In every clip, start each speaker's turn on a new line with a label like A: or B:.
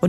A: och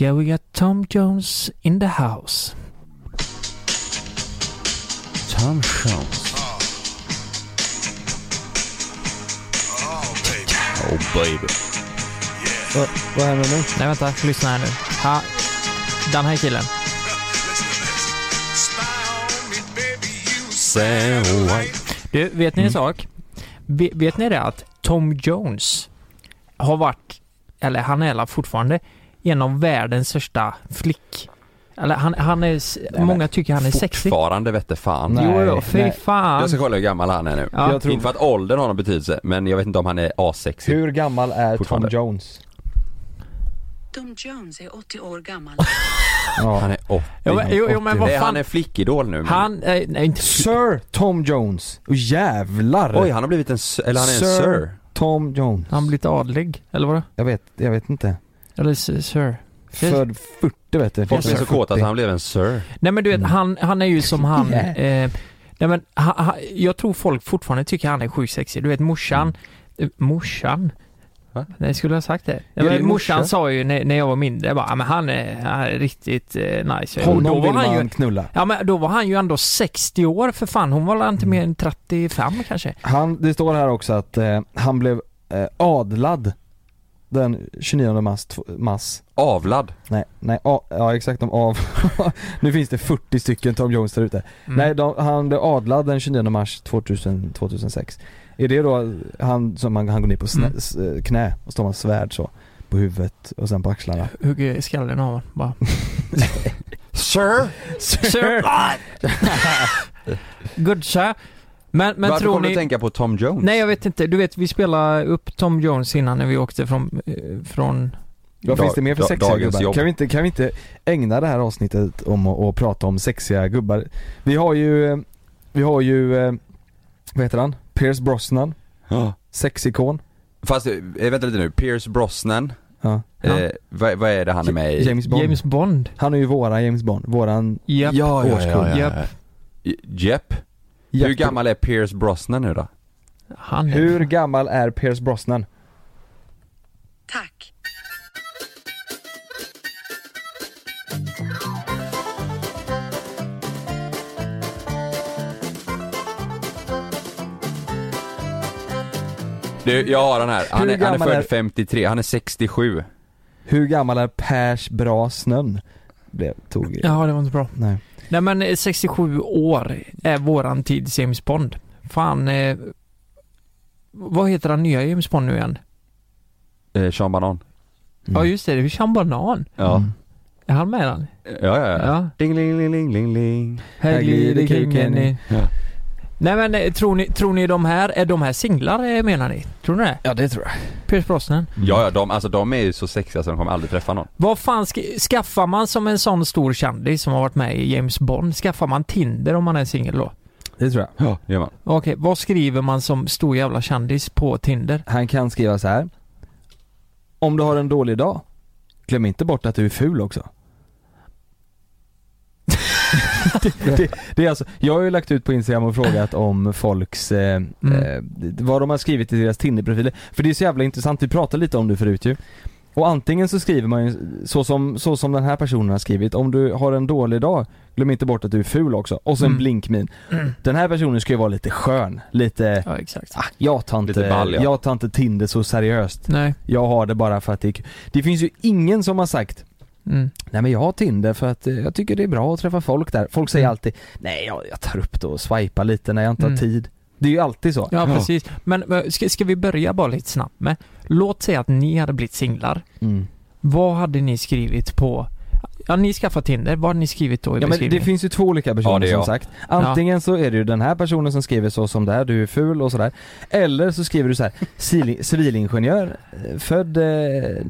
B: Yeah, we got Tom Jones in the house.
C: Tom Jones. Oh baby.
B: Vad, vad händer nu? Nej, vänta. Lyssna här nu. Ha, den här killen.
C: Sam White.
B: Du, vet
C: Mm.
B: ni en sak? Ve- vet ni det att Tom Jones har varit, eller han är alla fortfarande, en av världens största flick... Eller han, han är, s-
C: men
B: många tycker han är sexig.
C: Fortfarande vette fan.
D: Nej.
B: Jo, jo, fy
D: nej.
C: Jag
B: fan.
C: ska kolla hur gammal han är nu.
B: Ja.
D: Jag tror-
C: Inte för att åldern har någon betydelse, men jag vet inte om han är asexig.
D: Hur gammal är Tom
C: Typ Fortfarande.
D: Jones?
E: Tom Jones är 80 år gammal.
C: Han
D: Ja.
C: är 80.
B: Jo, men- jo, jo, men vad
C: Nej,
B: fan.
C: han är flickidol nu. men-
B: Han, eh, nej inte...
D: Sir Tom Jones. Och jävlar!
C: Oj, han har blivit en, s- eller han är en sir.
D: Tom Jones.
B: Han blivit adlig, eller vadå?
D: Jag vet, jag vet inte.
B: Eller s- sir.
D: Född 40 vet du.
C: Folk är så kåta att han blev en sir.
B: Nej men du vet,
D: Mm.
B: han, han är ju som han...
D: Yeah.
B: Eh, nej men, ha, ha, jag tror folk fortfarande tycker han är sjukt sexig. Du vet morsan... eh, Morsan?
C: Va?
B: Nej, skulle jag ha sagt det?
C: Ja,
B: Ja,
C: det är
B: men, morsan
C: morsa.
B: sa ju när, när jag var mindre, jag bara, "Ja, men han är, han är riktigt eh, nice. Och
D: Honom vill
B: han ju,
D: man knulla.
B: Ja men då var han ju ändå 60 år för fan, hon var väl inte mer än 35 kanske?
D: Han, det står här också att eh, han blev eh, adlad den 29 mars, tw- mars.
C: Avlad.
D: Nej, nej, a, ja exakt de av. nu finns det 40 stycken Tom Jones där ute.
B: Mm.
D: Nej, de, han blev adlad den 29 mars 2000, 2006. Är det då han som han, han går ner på snä,
B: Mm.
D: s, eh, knä och står med svärd så på huvudet och sen på axlarna?
B: Hugger skallen av honom bara.
C: Sir!
B: Sir! Good sir. Men, men
C: Varför
B: tror
C: kommer du
B: ni...
C: tänka på Tom Jones?
B: Nej jag vet inte, du vet vi spelade upp Tom Jones innan när vi åkte från, eh, från
D: Vad
C: Dag-
D: finns det mer för
C: da-
D: sexiga
C: dagens
D: gubbar?
C: jobb.
D: Kan vi, inte, kan vi inte ägna det här avsnittet om att att prata om sexiga gubbar? Vi har ju, eh, vi har ju, eh, vad heter han? Pierce Brosnan,
C: Ja.
D: sexikon.
C: Fast, eh, vänta lite nu. Pierce Brosnan.
D: Ja.
B: Ja.
C: Eh, vad, vad är det han är med i?
D: James Bond.
B: James Bond.
D: Han är ju våran James Bond, våran
B: Japp.
C: Ja, ja,
D: Årskull.
C: ja, ja, ja.
B: Japp.
C: Jepp. Hur gammal är Pierce Brosnan nu då?
B: Han är...
D: Hur gammal är Pierce Brosnan?
E: Tack.
C: Du, jag har den här. Han
D: Hur
C: är, han är
D: gammal
C: född
D: är-
C: 53, han är 67.
D: Hur gammal är Pers Brasnön? Blev, tog,
B: Ja, det var inte bra.
D: nej.
B: Nej men eh, 67 år är våran tids James Bond. Fan, eh, vad heter han nya James Bond nu igen?
C: Eh, Sean Banan.
B: Ja just det, det är Sean Banan.
C: Ja.
D: Mm.
B: Är han med den?
C: Ja, ja, ja.
B: Ja.
C: Ding, ling, ling, ling, ling, ling.
B: Här glider kuken i.
C: Ja.
B: Nej men eh, tror ni, tror ni de här, är de här singlar eh, menar ni? Tror ni det?
D: Ja det tror jag.
B: Pierce Brosnan?
C: Ja, ja, de, alltså de är ju så sexiga så de kommer aldrig träffa någon.
B: Vad fan sk- skaffar man som en sån stor kändis som har varit med i James Bond? Skaffar man Tinder om man är singel då?
D: Det tror jag.
C: Ja, det gör man.
B: Okej, vad skriver man som stor jävla kändis på Tinder?
D: Han kan skriva så här. Om du har en dålig dag, glöm inte bort att du är ful också. det, det, det är alltså, jag har ju lagt ut på Instagram och frågat om folks, eh,
B: Mm.
D: eh, vad de har skrivit i deras Tinder-profiler. För det är så jävla intressant, vi pratade lite om det förut ju. Och antingen så skriver man ju så som, så som den här personen har skrivit, om du har en dålig dag, glöm inte bort att du är ful också. Och så en
B: Mm.
D: blinkmin. Den här personen ska ju vara lite skön, lite,
B: Ja, exakt.
D: ah, jag tar
C: Lite
D: inte,
C: ball, ja.
D: jag tar inte Tinder så seriöst.
B: Nej,
D: Jag har det bara för att det är kul. Det finns ju ingen som har sagt
B: Mm.
D: Nej men jag har Tinder för att eh, jag tycker det är bra att träffa folk där. Folk säger
B: Mm.
D: alltid Nej jag, jag tar upp det och swipar lite när jag inte har
B: Mm.
D: tid. Det är ju alltid så.
B: Ja, precis. Men eh, ska, ska vi börja bara lite snabbt med, låt säga att ni hade blivit singlar.
D: Mm.
B: Vad hade ni skrivit på, ja ni skaffade Tinder, vad hade ni skrivit då i
D: Ja men det
B: beskrivningen?
D: finns ju två olika personer
C: Ja, det är
D: som
C: jag.
D: sagt. Antingen så är det ju den här personen som skriver så som det här, du är ful och sådär. Eller så skriver du så här, "Civil- civilingenjör, eh, född eh,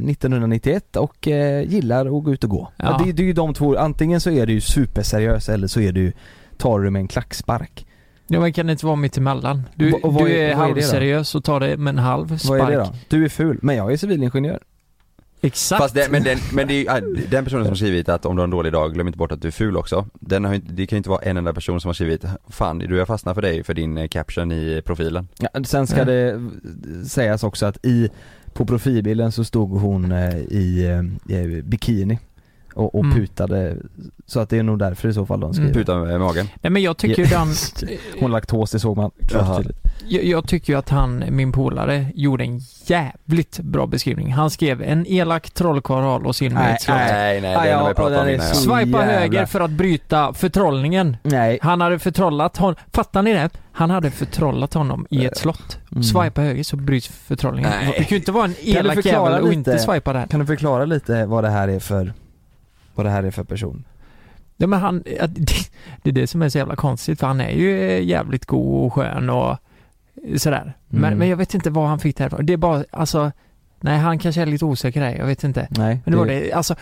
D: 1991 och eh, gillar att gå ut och gå. Ja.
B: Ja.
D: det, det är ju de två, antingen så är du ju superseriös eller så är du tar du med en klackspark.
B: Ja men kan det inte vara mitt emellan? Du,
D: Och- och vad
B: du
D: är-
B: är,
D: vad är det då?
B: halvseriös och tar det med en halv spark.
D: Vad är det då? Du är ful, men jag är civilingenjör.
B: Exakt.
C: Fast det, men, den, men det är, ju- ah, den personen som skrivit att om du har en dålig dag, glöm inte bort att du är ful också. Den har ju inte, det kan ju inte vara en enda person som har skrivit, fan du jag fastnar för dig för din eh, caption i profilen.
D: Ja, sen ska
B: Ja.
D: det sägas också att i, på profilbilden så stod hon eh, i eh, bikini och, och
B: Mm.
D: putade, så att det är nog därför i så fall de skriver.
B: Mm.
C: Puta med eh, magen.
B: Nej men jag tycker ju den,
D: Hon laktos, det såg man klart
C: Jaha.
D: tydligt.
B: jag, jag tycker ju att han, min polare, gjorde en jävligt bra beskrivning. Han skrev en elak trollkarl har låst in mig i
D: Nej,
B: ett slott.
D: nej.
C: Nej nej,
D: Ah,
C: den
D: ja,
C: har vi
D: och
C: pratat
D: den
C: om
D: är
C: innan ja.
D: så-
B: Swipa
D: Jävlar.
B: höger för att bryta förtrollningen.
D: Nej.
B: Han hade förtrollat honom. Fattar ni det? Han hade förtrollat honom i ett slott.
D: Mm.
B: Swipa höger så bryts förtrollningen.
C: Nej.
B: Det kan ju inte vara en elak
D: förklara
B: jävel och
D: lite?
B: inte swipa där.
D: Kan du förklara lite vad det här är för, vad det här är för person?
B: Ja, men han, att- det- det är det som är så jävla konstigt för han är ju eh, jävligt god och skön och sådär. Men,
D: Mm.
B: men jag vet inte vad han fick det här från. Det är bara, alltså, nej han kanske är lite osäker där, jag vet inte.
D: Nej.
B: Men det var det, alltså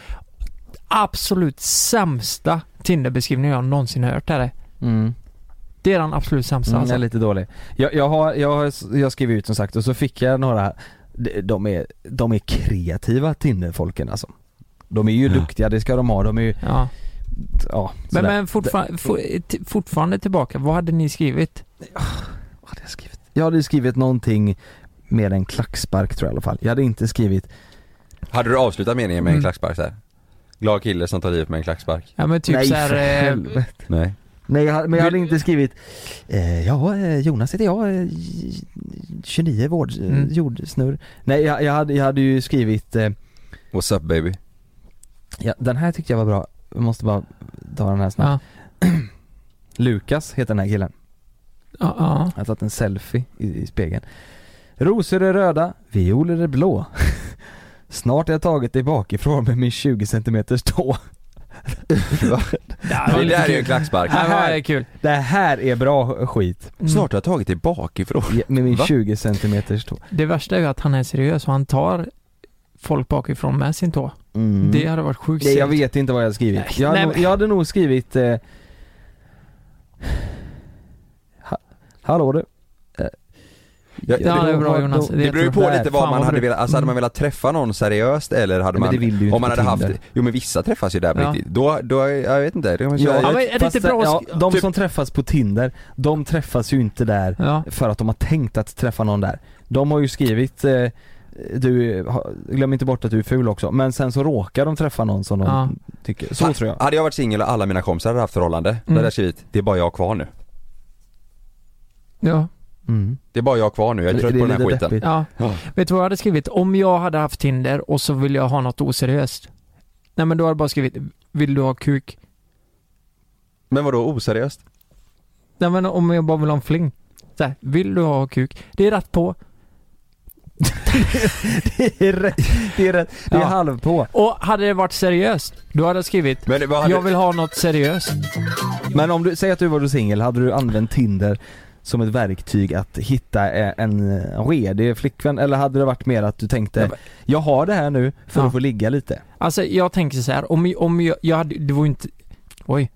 B: absolut sämsta Tinder-beskrivningen jag någonsin hört är det.
D: Mm.
B: Det är den absolut sämsta
D: Mm,
B: alltså.
D: Jag är lite dålig. Jag, jag, har, jag, har, jag skrev ut som sagt och så fick jag några, de- de är, de är kreativa Tinderfolken alltså. De är ju duktiga, det ska de ha. De är ju,
B: Ja.
D: ja,
B: Men,
D: sådär.
B: men fortfarande, for, t- fortfarande tillbaka, vad hade ni skrivit?
D: Vad hade jag skrivit? Jag hade ju skrivit någonting med en klackspark tror jag i alla fall. Jag hade inte skrivit,
C: Hade du avslutat meningen med en
B: Mm.
C: klackspark där? Glad kille som tar livet med en klackspark.
B: Ja men typ
D: nej
B: såhär,
D: för
B: eh,
D: helvete.
C: Nej.
D: Nej jag hade- men jag hade inte skrivit eh, Ja eh, Jonas heter jag, eh, j- 29 vård, eh,
B: Mm.
D: jordsnurr Nej jag, jag, hade, jag hade ju skrivit eh,
C: What's up baby?
D: ja, Den här tyckte jag var bra, jag måste bara ta den här snabbt
B: ja,
D: Lukas heter den här killen,
B: ja, ja.
D: jag har tagit en selfie i, i spegeln Rosor är röda, violer är blå Snart har jag tagit dig bakifrån med min 20 cm tå
B: Ja,
C: Det
B: lite
C: där är ju en
B: kul.
C: klackspark.
B: Ja, det här är kul.
D: Det här är bra skit,
B: Mm.
C: Snart har jag tagit dig bakifrån.
D: med min
C: Va?
D: 20 cm tå
B: Det värsta är ju att han är seriös och han tar folk bakifrån med sin tå.
D: Mm.
B: Det hade varit sjukt
D: Nej, jag
B: segt.
D: vet inte vad jag hade skrivit.
B: Nej,
D: Jag, hade
B: nej,
D: nog,
B: men-
D: jag hade nog skrivit... Eh, ha, hallå du. Eh,
C: Ja,
B: Ja, det är bra Jonas.
D: Det,
C: Det beror ju på
B: jättebra.
C: lite vad
B: Fan, Mm.
C: man hade
B: bra.
C: velat, alltså hade man velat träffa någon seriöst eller hade
D: men det
C: man
D: vill du ju inte
C: om man
D: på
C: hade haft,
D: Tinder.
C: jo men vissa träffas ju där på
B: Ja.
C: riktigt. Då, då, jag vet inte. Det kan man
D: Ja,
C: säga.
B: men är det
D: fast
B: inte bra
D: ja,
B: att sk-
D: de
C: typ-
D: som träffas på Tinder, de träffas ju inte där
B: Ja.
D: för att de har tänkt att träffa någon där. De har ju skrivit eh, du, ha, glöm inte bort att du är ful också, men sen så råkar de träffa någon som de
B: Ja.
D: tycker, så
C: Ha-
D: tror jag.
C: Hade jag varit singel och alla mina kompisar hade haft förhållande, då
D: Mm.
C: hade jag skrivit det är bara jag kvar nu.
B: Ja.
D: Mm.
C: Det är bara jag kvar nu, jag är trött
D: Det-
C: på den
D: det
C: här
D: är lite
C: skiten.
D: deppigt.
B: ja.
C: Ja.
B: Vet du vad jag hade skrivit? Om jag hade haft Tinder och så vill jag ha något oseriöst. Nej men då hade jag bara skrivit, vill du ha kuk?
C: Men vadå oseriöst?
B: Nej men om jag bara vill ha en fling. Så här, vill du ha kuk? Det är rätt på.
D: det är rätt, det är, rätt, det är
B: Ja.
D: halv på.
B: Och hade det varit seriöst, då hade jag skrivit,
C: Men vad hade,
B: jag vill ha något seriöst.
D: Men om du, säg att du var singel, hade du använt Tinder som ett verktyg att hitta eh, en eh, redig flickvän? Eller hade det varit mer att du
B: Ja,
D: tänkte,
B: men-
D: jag har det här nu för
B: Ja.
D: att få ligga lite?
B: Alltså jag tänker så här, om, om jag, jag hade, det var ju inte, oj.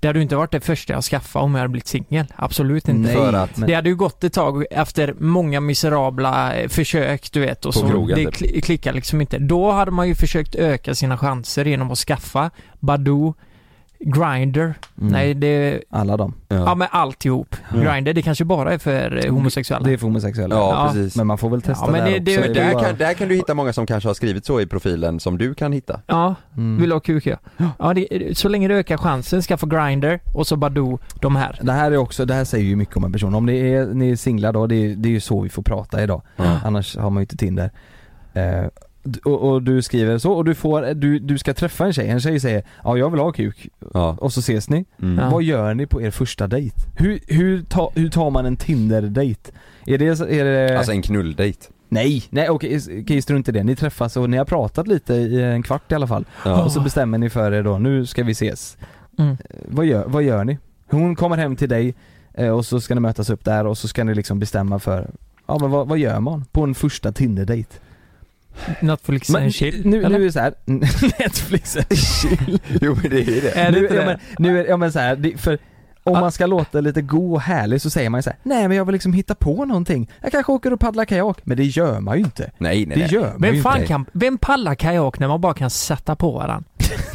B: Det hade ju inte varit det första jag skaffade om jag hade blivit singel. Absolut inte.
C: för att-
D: men,
B: Det hade ju gått ett tag efter många miserabla eh, försök du vet och
C: På
B: så
C: krogen,
B: det
C: typ.
B: kli- klickar liksom inte. Då hade man ju försökt öka sina chanser genom att skaffa Badoo, Grindr,
D: Mm.
B: nej det,
D: alla dem.
B: ja men alltihop. Grindr det kanske bara är för eh, homosexuella.
D: Mm. Det är för homosexuella.
C: Ja,
B: Ja.
C: precis.
D: Men man får väl testa
B: Ja, men
D: där
B: det- det-
D: också.
C: Men
D: Det är
C: där
D: bara-
C: kan, där kan du hitta många som kanske har skrivit så i profilen som du kan hitta.
B: Ja,
D: Mm.
B: vill du ha kuk ja. ja det, så länge du ökar chansen, skaffa Grindr och så Badoo, de här.
D: Det här är också, det här säger ju mycket om en person. Om det är, ni är singlar då, det är, det är ju så vi får prata idag.
C: Ja.
D: Annars har man ju inte Tinder. Eh, d- och, och du skriver så och du får, du, du ska träffa en tjej, en tjej säger ja jag vill ha kuk
C: Ja.
D: och så ses ni.
C: Mm.
B: Ja.
D: Vad gör ni på er första dejt? Hur, hur, ta, hur tar man en Tinder-dejt? Är det, så- är det...
C: Alltså en knulldejt.
D: nej! Nej okej, okay, strunt i det. Ni träffas och ni har pratat lite i en kvart i alla fall.
C: Ja.
D: Och så bestämmer ni för er då, nu ska vi ses.
B: Mm.
D: Eh, Vad, gör, vad gör ni? Hon kommer hem till dig eh, och så ska ni mötas upp där och så ska ni liksom bestämma för Ja men vad, vad gör man på en första Tinder-dejt?
B: Netflix
D: Men
B: and chill,
D: nu,
B: eller?
D: nu är det såhär, Netflix and chill.
C: Jo men det är det.
B: är det
D: nu,
B: inte
D: ja,
B: det?
D: men, nu är, ja men såhär, det- för om
B: Ah.
D: man ska låta lite god och härlig så säger man ju såhär, nej men jag vill liksom hitta på någonting. Jag kanske åker och paddlar kajak. Men det gör man ju inte.
C: Nej nej
D: Det
C: nej.
D: gör man ju
B: Vem
D: inte.
B: fan kan, vem pallar kajak när man bara kan sätta på varandra?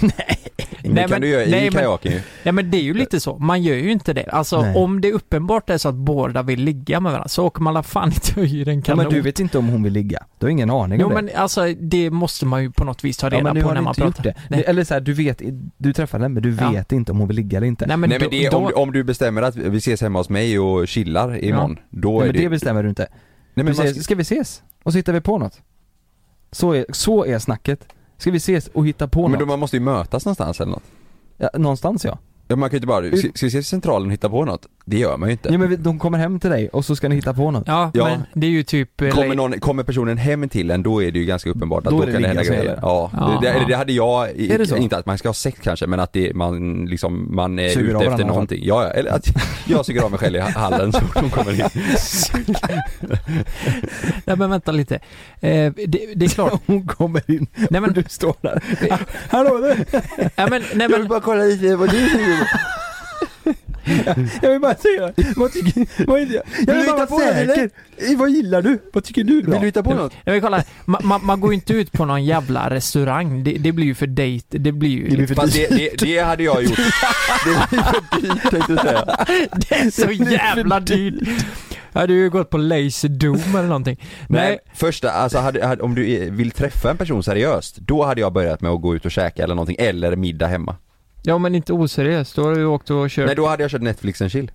C: Det
B: Nej,
C: kan
B: men-
C: du göra
B: nej,
C: i
B: men-
C: kajaken ju.
B: Nej men det är ju lite så, man gör ju inte det. Alltså
D: Nej.
B: om det uppenbart är så att båda vill ligga med varandra så åker man alla fan inte och hyr en
D: Ja,
B: kanon.
D: men du vet inte om hon vill ligga. Du har ingen aning
B: jo
D: om det.
B: men alltså det måste man ju på något vis ta
D: Ja,
B: reda
D: men nu
B: på
D: har
B: när
D: du
B: man
D: inte gjort
B: pratar.
D: det.
B: Nej.
D: Eller såhär, du vet, du träffar henne men du
B: Ja.
D: vet inte om hon vill ligga eller inte.
B: Nej men,
C: Nej men
B: då,
C: det, är- om,
B: då,
C: du- om du bestämmer att vi ses hemma hos mig och chillar imorgon, då
D: Nej,
C: är
D: men det
C: det,
D: bestämmer du inte.
C: Nej
D: Du
C: men man,
D: säger, ska vi ses? Och så hittar vi på något. Så är, så är snacket. Ska vi ses och hitta på
C: men
D: något?
C: då, man måste ju mötas någonstans eller något.
D: Ja, någonstans ja.
C: Ja, Man kan ju inte bara, ska, ska vi ses i centralen och hitta på något? Det gör man ju inte.
D: Jo men vi- de kommer hem till dig och så ska ni hitta på något.
B: ja,
C: Ja.
B: men det är ju typ... eh,
C: Kommer, någon, kommer personen hem till en, då är det ju ganska uppenbart att
D: Då
C: då,
D: är det
C: kan det hända
D: ligga som
C: grejer.
D: gäller.
C: Ja,
B: Ja,
C: det,
B: ja.
C: det, det hade jag, i-
D: Är det så?
C: inte att man ska ha sex kanske, men att det, man liksom, man är
D: Suger av
C: ute
D: varandra,
C: efter någonting. Ja, ja, eller att jag suger av mig själv i hallen så fort hon kommer in.
B: Nej men vänta lite. Eh, det, det är klart.
D: Hon kommer in
B: nej men...
D: du står där. Hallå du!
B: Nej men, nej, men
C: bara kolla lite vad du
D: Jag vill bara säga, vad tycker, vad är det? Jag vill,
C: hitta
D: bara vara
C: på något,
D: säker. Eh, Vad gillar du? Vad tycker du är bra?
C: Vill du hitta på något?
B: Nej men kolla, man, man, man går ju inte ut på någon jävla restaurang. Det, det blir ju för dejt, det blir ju... liksom
D: Det blir för
C: Fast det, det, det hade jag gjort. Det blir för dyrt tänkte jag säga.
B: Det är så jävla dyrt. Ja, du har ju gått på Laserdome eller någonting.
C: Nej,
B: Nej,
C: första, alltså hade, hade, om du eh, vill träffa en person seriöst, då hade jag börjat med att gå ut och käka eller någonting, eller middag hemma.
B: ja men inte oseriöst. Då har du åkt och kört.
C: Nej, då hade jag kört Netflix and chill.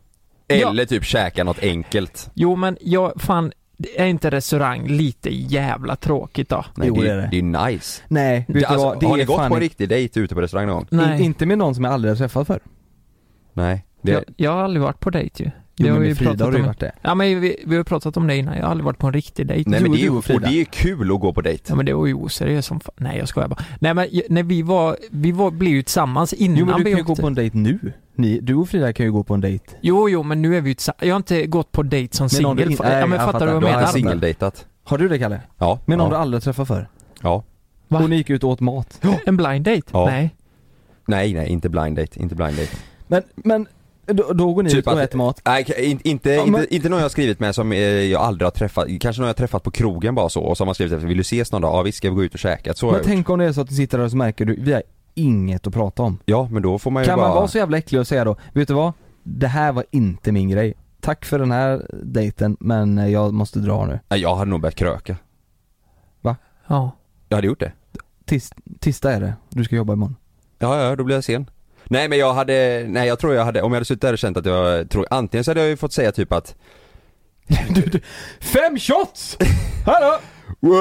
B: Ja.
C: Eller typ käka något enkelt.
B: Jo men jag, fan, är inte restaurang lite jävla tråkigt då?
C: Nej,
D: Jo,
C: det,
D: det är
C: är
D: det.
C: det är nice.
D: Nej, vet
C: Det,
D: du
C: alltså,
D: vad? Det
C: har ni
D: är
C: gått
D: fan
C: på en
D: inte-
C: riktig dejt ute på restaurang någon gång?
B: Nej.
D: in- inte med någon som jag aldrig har träffat förr.
C: Nej. Det,
B: Jag, jag har aldrig varit på dejt ju.
D: Jo,
B: Det har
D: men
B: vi ju
D: med Frida har du
B: om.
D: varit det.
B: Ja men vi, vi har ju pratat om det innan, jag har aldrig varit på en riktig dejt.
C: nej
D: du
C: men det är
D: och
C: ju,
D: du och Frida.
C: och det är ju kul att gå på dejt.
B: Ja men det var ju oseriöst som fan. Nej jag skojar bara. Nej men j- när vi var, vi var, blev ju tillsammans innan
D: Jo men du
B: vi
D: kan ju gå på en dejt nu. Ni, du och Frida kan ju gå på en dejt.
B: Jo jo men nu är vi ju tillsammans. Jag har inte gått på dejt som
D: Med någon du
B: singel.
D: inte-
B: Fa- Ja
D: nej,
B: men
D: jag
B: fattar du
D: fattar.
B: vad
C: Du
B: jag
C: har
D: menar.
C: singeldejtat.
D: Har du det Kalle?
C: Ja.
D: Med någon du
C: ja.
D: aldrig har träffat förr?
C: ja.
B: Va?
D: Och ni gick ut och åt mat.
B: En blind date?
C: Ja.
B: Nej.
C: Nej nej, inte blind date, inte blind date.
D: Men, men då, då går ni
C: Typ
D: ut och
C: att-
D: äter mat.
C: Nej, k- in, inte,
D: Ja, men-
C: inte, inte någon jag har skrivit med som eh, jag aldrig har träffat, kanske någon jag har träffat på krogen bara så och som har skrivit efter, vill du ses någon dag? Ja visst ska vi gå ut och käka, så har
D: Men
C: jag gjort.
D: tänk om det är så att du sitter där och så märker du, vi har inget att prata om.
C: Ja men då får man ju
D: Kan
C: bara...
D: man vara så jävla äcklig och säga då, vet du vad? Det här var inte min grej. Tack för den här dejten men eh, jag måste dra nu.
C: Nej, jag hade nog börjat kröka.
B: Ja.
C: Jag hade gjort det.
D: Tis, tisdag är det, du ska jobba imorgon.
C: Ja, ja, då blir jag sen. Nej men jag hade, nej jag tror jag hade, om jag hade suttit där och känt att jag, tror, antingen så hade jag ju fått säga typ att
D: Fem shots! Hallå! Mm.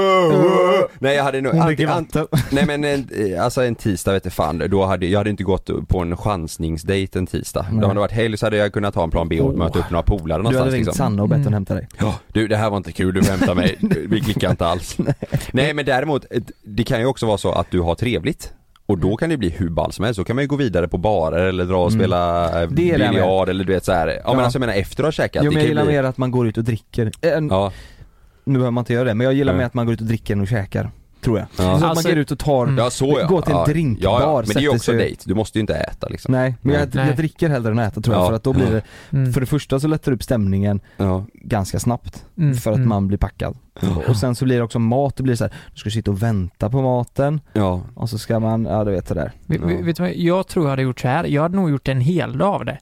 C: Nej jag hade nog,
D: Hon dricker
C: antingen, ant,
D: vatten.
C: nej men en, eh, alltså en tisdag vet du fan, då hade, jag hade inte gått på en chansningsdejt en tisdag.
D: Nej.
C: Då hade det varit helg så hade jag kunnat ha en plan B och
B: Oh.
C: möta upp några polare
D: Du hade
C: någonstans liksom.
D: ringt Sanna och bett hon
B: Mm.
D: hämta dig.
C: Ja, du det här var inte kul, du hämtar mig, vi klickar inte alls. Nej. men däremot, eh, det kan ju också vara så att du har trevligt. Och då kan det bli hur ball som helst, så kan man ju gå vidare på barer eller dra och
D: Mm.
C: spela eh,
D: Det är det jag
C: biljard eller du vet så här. Ja,
D: Ja.
C: men alltså jag menar efter att ha käkat,
D: Jo
C: det
D: men jag
C: kan ju
D: gillar
C: bli...
D: mer att man går ut och dricker. Eh,
C: Ja,
D: Nu behöver man inte göra det, men jag gillar
C: Nej.
D: mer att man går ut och dricker än och käkar. Tror jag.
C: Ja. Mm.
D: Så att
B: Alltså-
D: man går ut och tar,
C: ja så ja.
D: går Mm. till en
C: ja.
D: drinkbar,
C: ja, ja. Men det är ju
D: sätter
C: också
D: sig-
C: dejt, du måste ju inte äta liksom.
D: nej men jag,
B: Nej.
D: jag dricker hellre än äter tror jag
C: Ja.
D: för att då blir det,
B: Mm.
D: för det första så lättar det upp stämningen
C: Ja.
D: ganska snabbt.
B: Mm.
D: för att
B: Mm.
D: man blir packad. Och sen så blir det också mat, det blir så här, du ska sitta och vänta på maten
C: ja.
D: och så ska man, ja du vet det där.
B: Vi- vi-
C: Ja.
B: Vet du vad, jag tror jag hade gjort så här. Jag hade nog gjort en hel dag av det.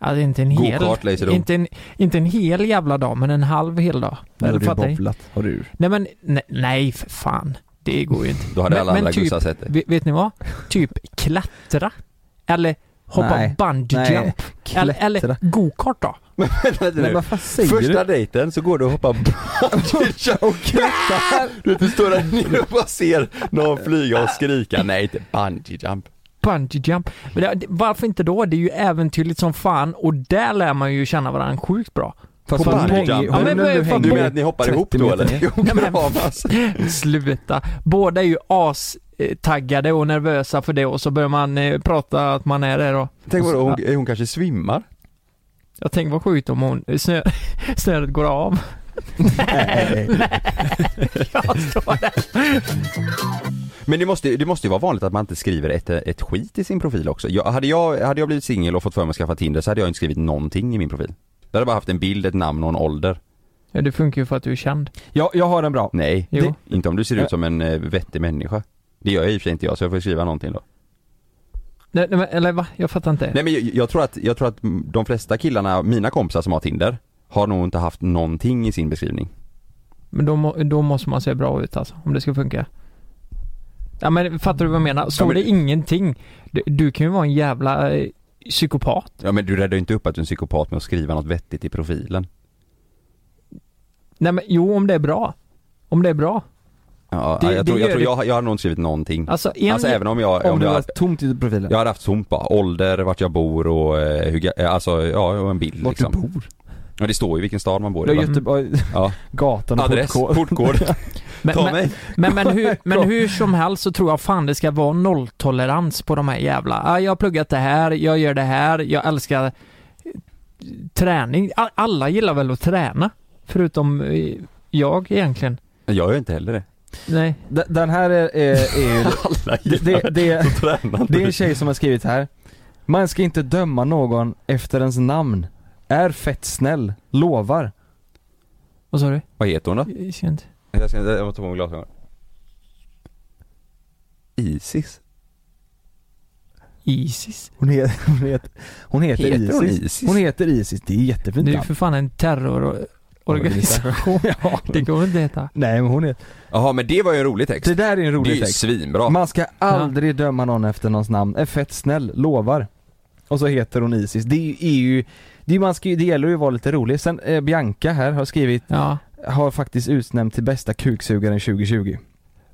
B: Alltså inte en hel...
C: Go-kart, Lazerdome.
B: inte, en, inte en hel jävla dag, men en halv hel dag.
D: Nu har
B: Eller
D: du
B: fattar ni?
D: bobblat, har du.
B: Nej men, nej, nej för fan. Det går ju inte.
C: Då hade
B: Men-
C: alla
B: men
C: andra
B: typ-
C: gussar sett det.
B: Vet, vet ni vad? Typ klättra. Eller hoppa
D: Nej.
B: bungee
D: Nej,
B: jump. Eller, eller
D: klättra.
B: go-kart då.
C: Men vänta lite
D: Men
C: nu.
D: vad fan säger
C: Första dejten så går du och hoppar bungee och klättrar. Du vet, du står där nere och bara ser någon flyga och skrika, nej inte bungee jump.
B: Bungee jump. Men det, varför inte då? Det är ju äventyrligt som fan och där lär man ju känna varandra sjukt bra.
D: Fast
C: På
D: på
C: bungee jump.
D: pongyhornen
C: Ja,
B: men vad är
D: du
B: fan-
D: hänger
C: Du menar att ni hoppar
D: 30
C: ihop då
D: meter
C: eller?
D: ner.
C: Jo,
B: Nej, men-
C: kramas.
B: Sluta. Båda är ju astaggade och nervösa för det och så börjar man eh, prata att man är det då.
C: Tänk vad
B: Och
C: hon,
B: så-
C: hon kanske svimmar?
B: Jag tänker vad sjukt om hon, snö, snöret går av.
D: Nej.
B: Jag står där.
C: Men det måste, det måste ju vara vanligt att man inte skriver ett, ett skit i sin profil också. Jag, hade, jag, hade jag blivit singel och fått för mig att skaffa Tinder så hade jag inte skrivit någonting i min profil. Jag hade bara haft en bild, ett namn och en ålder.
B: Ja, det funkar ju för att du är känd.
D: Ja, jag har en bra.
C: Nej,
B: Jo.
C: det, inte om du ser ut som en eh, vettig människa. Det gör jag i och för sig inte jag så jag får skriva någonting då.
B: Nej, nej, men- eller va? Jag fattar inte.
C: Nej men jag, jag, tror att, jag tror att mm, de flesta killarna, mina kompisar som har Tinder, har nog inte haft någonting i sin beskrivning.
B: Men då, må- då måste man se bra ut alltså, om det ska funka. Ja men fattar du vad jag menar? Står
C: Ja, men-
B: det ingenting, du, du kan ju vara en jävla eh, psykopat.
C: Ja men du räddar ju inte upp att du är en psykopat med att skriva något vettigt i profilen.
B: Nej men jo, om det är bra. Om det är bra.
C: Ja,
B: Det-
C: jag, tror,
B: det
C: jag,
B: gör
C: tror
B: det-
C: jag, jag hade nog inte skrivit någonting. Alltså,
B: Alltså, en,
C: även om jag,
D: Om
C: om
D: det
C: jag,
D: var tomt i profilen.
C: jag hade haft sånt bara, ålder, vart jag bor och eh, hur, ga- eh, alltså ja, och en bild
D: Vart
C: liksom.
D: du bor?
C: Ja det står ju vilken stad man bor
D: Ja,
C: i. va?
D: Göteborg,
C: Ja.
D: gatan och
C: Adress,
D: portkod.
C: portkod.
B: men,
C: Ta
B: men,
C: mig.
B: men, men, hur, men hur som helst så tror jag fan det ska vara nolltolerans på de här jävla, ah, jag har pluggat det här, jag gör det här, jag älskar eh, träning. A- Alla gillar väl att träna? Förutom eh, jag egentligen.
C: Jag gör ju inte heller det.
B: Nej.
D: D- Den här är, är, är ju...
C: Alla
D: Det,
C: gillar
D: det, det,
C: att träna.
D: det är en tjej som har skrivit här. Man ska inte döma någon efter ens namn. Är fett snäll. Lovar.
B: Vad sa du?
C: Vad heter hon då?
B: Jag ser inte.
C: Jag, ska, jag måste ta på mig glasögonen. Isis?
B: Isis?
D: Hon, he, hon, heter, hon heter
C: Heter
D: Isis.
C: hon Isis?
D: Hon heter Isis. Det är jättefint
B: Det är ju
D: namn.
B: för fan en terrororganisation.
D: ja.
B: Det går inte att heta.
D: Nej men hon är...
C: Jaha men det var ju en rolig text.
D: Det där är en
C: Det är
D: rolig
C: ju
D: text.
C: svinbra.
D: Man ska aldrig döma någon efter någons namn. Är fett snäll. Lovar. Och så heter hon Isis. Det är ju... Det, är, man ska, ju- det gäller ju att vara lite rolig. Sen eh, Bianca här har skrivit,
B: Ja.
D: har faktiskt utnämnt till bästa kuksugaren 2020.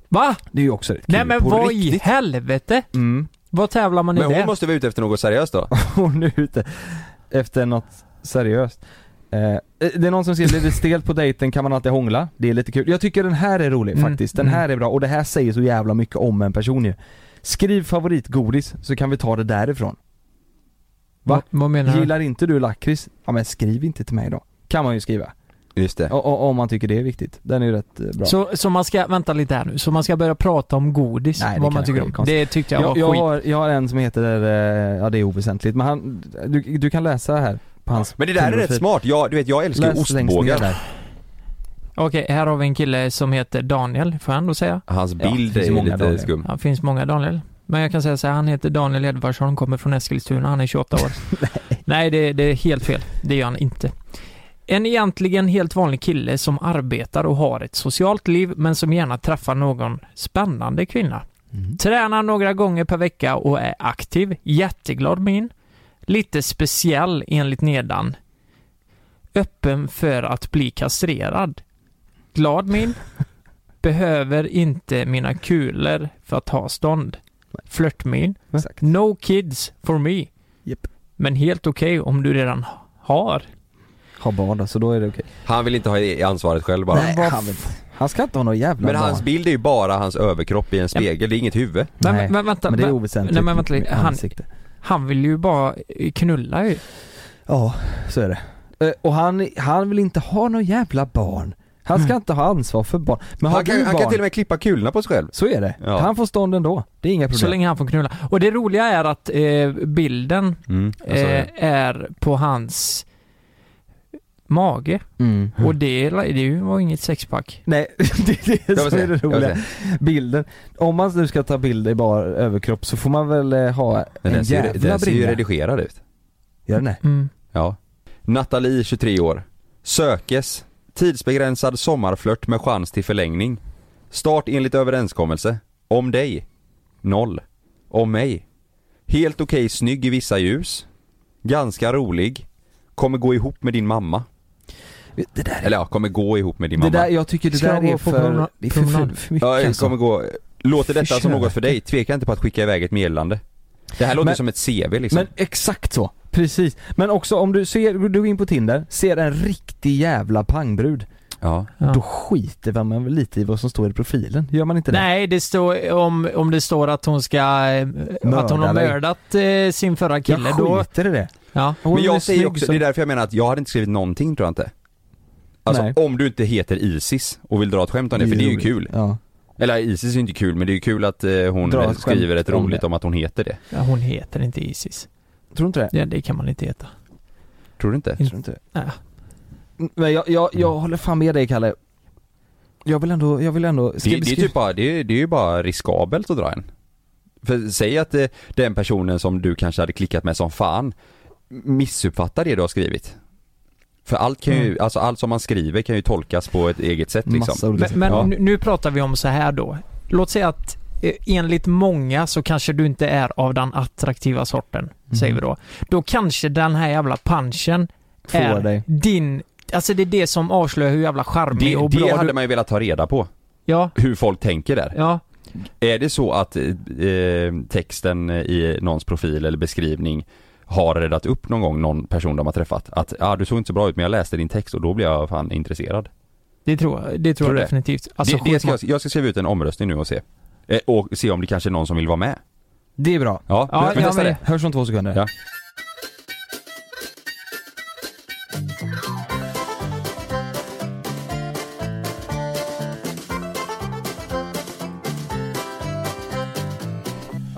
B: Va?
D: Det är ju också rätt kul.
B: Nej men
C: på
B: vad i
C: riktigt.
B: helvete?
D: Mm.
B: Vad tävlar man i
C: Men
B: det?
C: hon måste vara ute efter något seriöst då?
D: hon är ute efter något seriöst. Eh, det är någon som säger lite stelt på dejten kan man alltid hångla. Det är lite kul. Jag tycker den här är rolig
B: Mm,
D: faktiskt. Den
B: mm.
D: här är bra och det här säger så jävla mycket om en person ju. Skriv favoritgodis så kan vi ta det därifrån. Va?
B: Vad menar du?
D: Gillar inte du lakrits? Ja men skriv inte till mig då. Kan man ju skriva.
C: Just det.
D: O- o- om man tycker det är viktigt. Den är ju rätt eh, bra.
B: Så, så man ska, vänta lite här nu, så man ska börja prata om godis,
D: Nej, det
B: vad man
D: kanske
B: tycker
D: är
B: om?
D: konstigt.
B: Det tyckte jag, var
D: jag, jag,
B: skit.
D: har, jag har en som heter, eh, ja det är oväsentligt men han, du, du kan läsa här på hans
C: Men det där är rätt
D: Tinderprofil.
C: smart. Jag, du vet jag älskar ju
D: Läs längst ner
C: ostbågar.
D: där.
B: Okej, här har vi en kille som heter Daniel, får jag ändå säga.
C: Hans
D: Ja,
C: bild
D: det finns
C: är
D: många
C: lite
D: dagar.
C: skum.
B: Ja, det finns många Daniel. Men jag kan säga så här, han heter Daniel Edvardsson, kommer från Eskilstuna, han är 28 år. Nej, det, det är helt fel. Det gör han inte. En egentligen helt vanlig kille som arbetar och har ett socialt liv, men som gärna träffar någon spännande kvinna. Tränar några gånger per vecka och är aktiv, jätteglad min. Lite speciell enligt nedan. Öppen för att bli kastrerad. Glad min. Behöver inte mina kulor för att ha stånd. Flörtmin.
D: Exakt.
B: No kids for me.
D: Japp.
B: Men helt okej om du redan har.
D: Har barn då, så då är det okej.
C: Han vill inte ha i- ansvaret själv bara.
D: Nej, han, han ska inte ha några jävla
C: Men hans
D: barn.
C: bild är ju bara hans överkropp i en spegel, det är inget huvud.
B: Men,
D: Nej,
B: men vänta,
D: men det är
B: vä-
D: oväsentligt.
B: Nej, men vänta lite.
D: med
B: Han-
D: ansikte.
B: han vill ju bara eh, knulla ju.
D: Ja, så är det. Eh, Och han, han vill inte ha några jävla barn. Han
B: Mm.
D: ska inte ha ansvar för barn. Men har
C: Han kan,
D: du
C: han
D: barn,
C: kan till och med klippa kulorna på sig själv.
D: så är det.
C: Ja.
D: Han får stånd ändå. Det är inga problem.
B: Så länge han får knulla. Och det roliga är att eh, bilden
C: Mm, jag sa
B: eh,
C: det.
B: är på hans mage.
D: Mm.
B: Och det, det var inget sexpack.
D: Nej, det är
C: Jag
D: det
C: vill
D: som
C: se,
D: är det
C: jag vill
D: roliga. Bilden. Om man nu ska ta bilder i bar överkropp så får man väl eh, ha
C: Den
D: en
C: där ser, ju-
D: jävla
C: den ser ju
D: brygga.
C: redigerad ut.
D: Gör den det?
B: Mm.
C: Ja. Nathalie, 23 år. Sökes. Tidsbegränsad sommarflört med chans till förlängning. Start enligt överenskommelse. Om dig. Noll. Om mig. Helt okej snygg i vissa ljus. Ganska rolig. kommer gå ihop med din mamma.
D: Det där är
C: Eller ja, kommer gå ihop med din
D: Det
C: mamma.
D: där, jag tycker det
B: Ska
D: där
B: jag
D: är
B: gå på
D: för,
B: promena-
D: det är för, för,
B: promenad?
D: för mycket
C: ja,
D: alltså.
C: kommer gå. Låter detta som
B: Försök.
C: något för dig, tveka inte på att skicka iväg ett meddelande. Det här låter
D: Men-
C: som ett CV liksom.
D: Men exakt så, precis. Men också om du ser, du går in på Tinder, ser en riktig jävla pangbrud,
C: ja.
B: Ja.
D: då skiter man väl lite i vad som står i profilen, gör man inte det?
B: Nej, det står, om, om det står att hon ska, eh, att hon har
D: dig.
B: mördat eh, sin förra kille
D: jag
B: då.
D: skiter i det.
B: Ja.
D: Hon
C: Men
D: är
C: jag säger
D: snygg
C: också,
D: som-
C: det är därför jag menar att jag hade inte skrivit någonting tror jag inte. Alltså
D: Nej.
C: om du inte heter Isis och vill dra ett skämt om det, för det är ju
D: roligt.
C: kul.
D: Ja.
C: Eller Isis är ju inte kul men det är ju kul att eh, hon
D: Dra ett
C: eh,
D: skämt
C: skriver ett
D: om
C: roligt
D: det.
C: om att hon heter det.
B: Ja, hon heter inte Isis.
D: Tror du inte det?
B: Ja, det kan man inte heta.
C: Tror du inte?
D: Jag tror inte det.
B: Nej.
D: Men jag, jag, jag håller fan med dig Kalle. Jag vill ändå, jag vill ändå,
C: Det,
D: vi
C: det, är
D: skriva-
C: typ bara, det, är, det är ju bara riskabelt att dra en. För säg att eh, den personen som du kanske hade klickat med som fan missuppfattar det du har skrivit. För allt kan ju, alltså allt som man skriver kan ju tolkas på ett eget sätt liksom.
D: Mm. massa olika
B: Men, men
C: Ja.
B: nu, nu pratar vi om så här då. Låt säga att eh, enligt många så kanske du inte är av den attraktiva sorten,
C: Mm.
B: säger vi då. Då kanske den här jävla punchen
D: Får
B: är
D: dig.
B: din, alltså det är det som avslöjar hur jävla charmig
C: Det,
B: och bra
C: det
B: du...
C: hade man ju velat ta reda på,
B: Ja,
C: hur folk tänker där.
B: ja.
C: Är det så att eh, texten i någons profil eller beskrivning har räddat upp någon gång någon person de har träffat? Att ah, du såg inte så bra ut men jag läste din text och då blev jag fan intresserad.
B: Det tror jag, det tror
C: Tror du
B: jag
C: det?
B: definitivt. Alltså,
C: det, det ska
B: skitma-
C: jag, jag ska skriva ut en omröstning nu och se. Eh, och se om det kanske är någon som vill vara med.
D: Det är bra.
C: Ja,
B: Ja,
C: vi
B: jag
C: testar
B: med.
C: det.
D: Hörs om två sekunder.
C: Ja.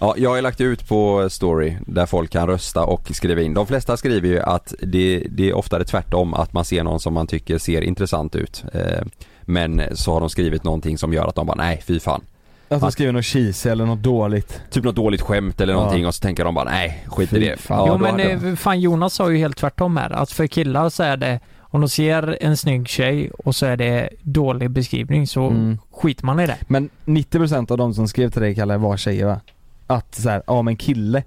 C: Ja, jag har ju lagt ut på story där folk kan rösta och skriva in. De flesta skriver ju att det, det är oftare tvärtom, att man ser någon som man tycker ser intressant ut. Eh, men så har de skrivit någonting som gör att de bara, nej fy fan.
D: Att de skriver något cheesy eller något dåligt.
C: Typ något dåligt skämt eller
D: Ja.
C: någonting och så tänker de bara, nej skit i
D: Fy
C: det.
D: fan.
C: Ja,
B: jo
C: då
B: men
C: hade de-
B: eh, fan Jonas sa ju helt tvärtom här. Att för killar så är det, om de ser en snygg tjej och så är det dålig beskrivning så
D: Mm.
B: skiter man i det.
D: Men 90% av de som skrev till dig Kalle var tjejer va? Att så här, ja men kille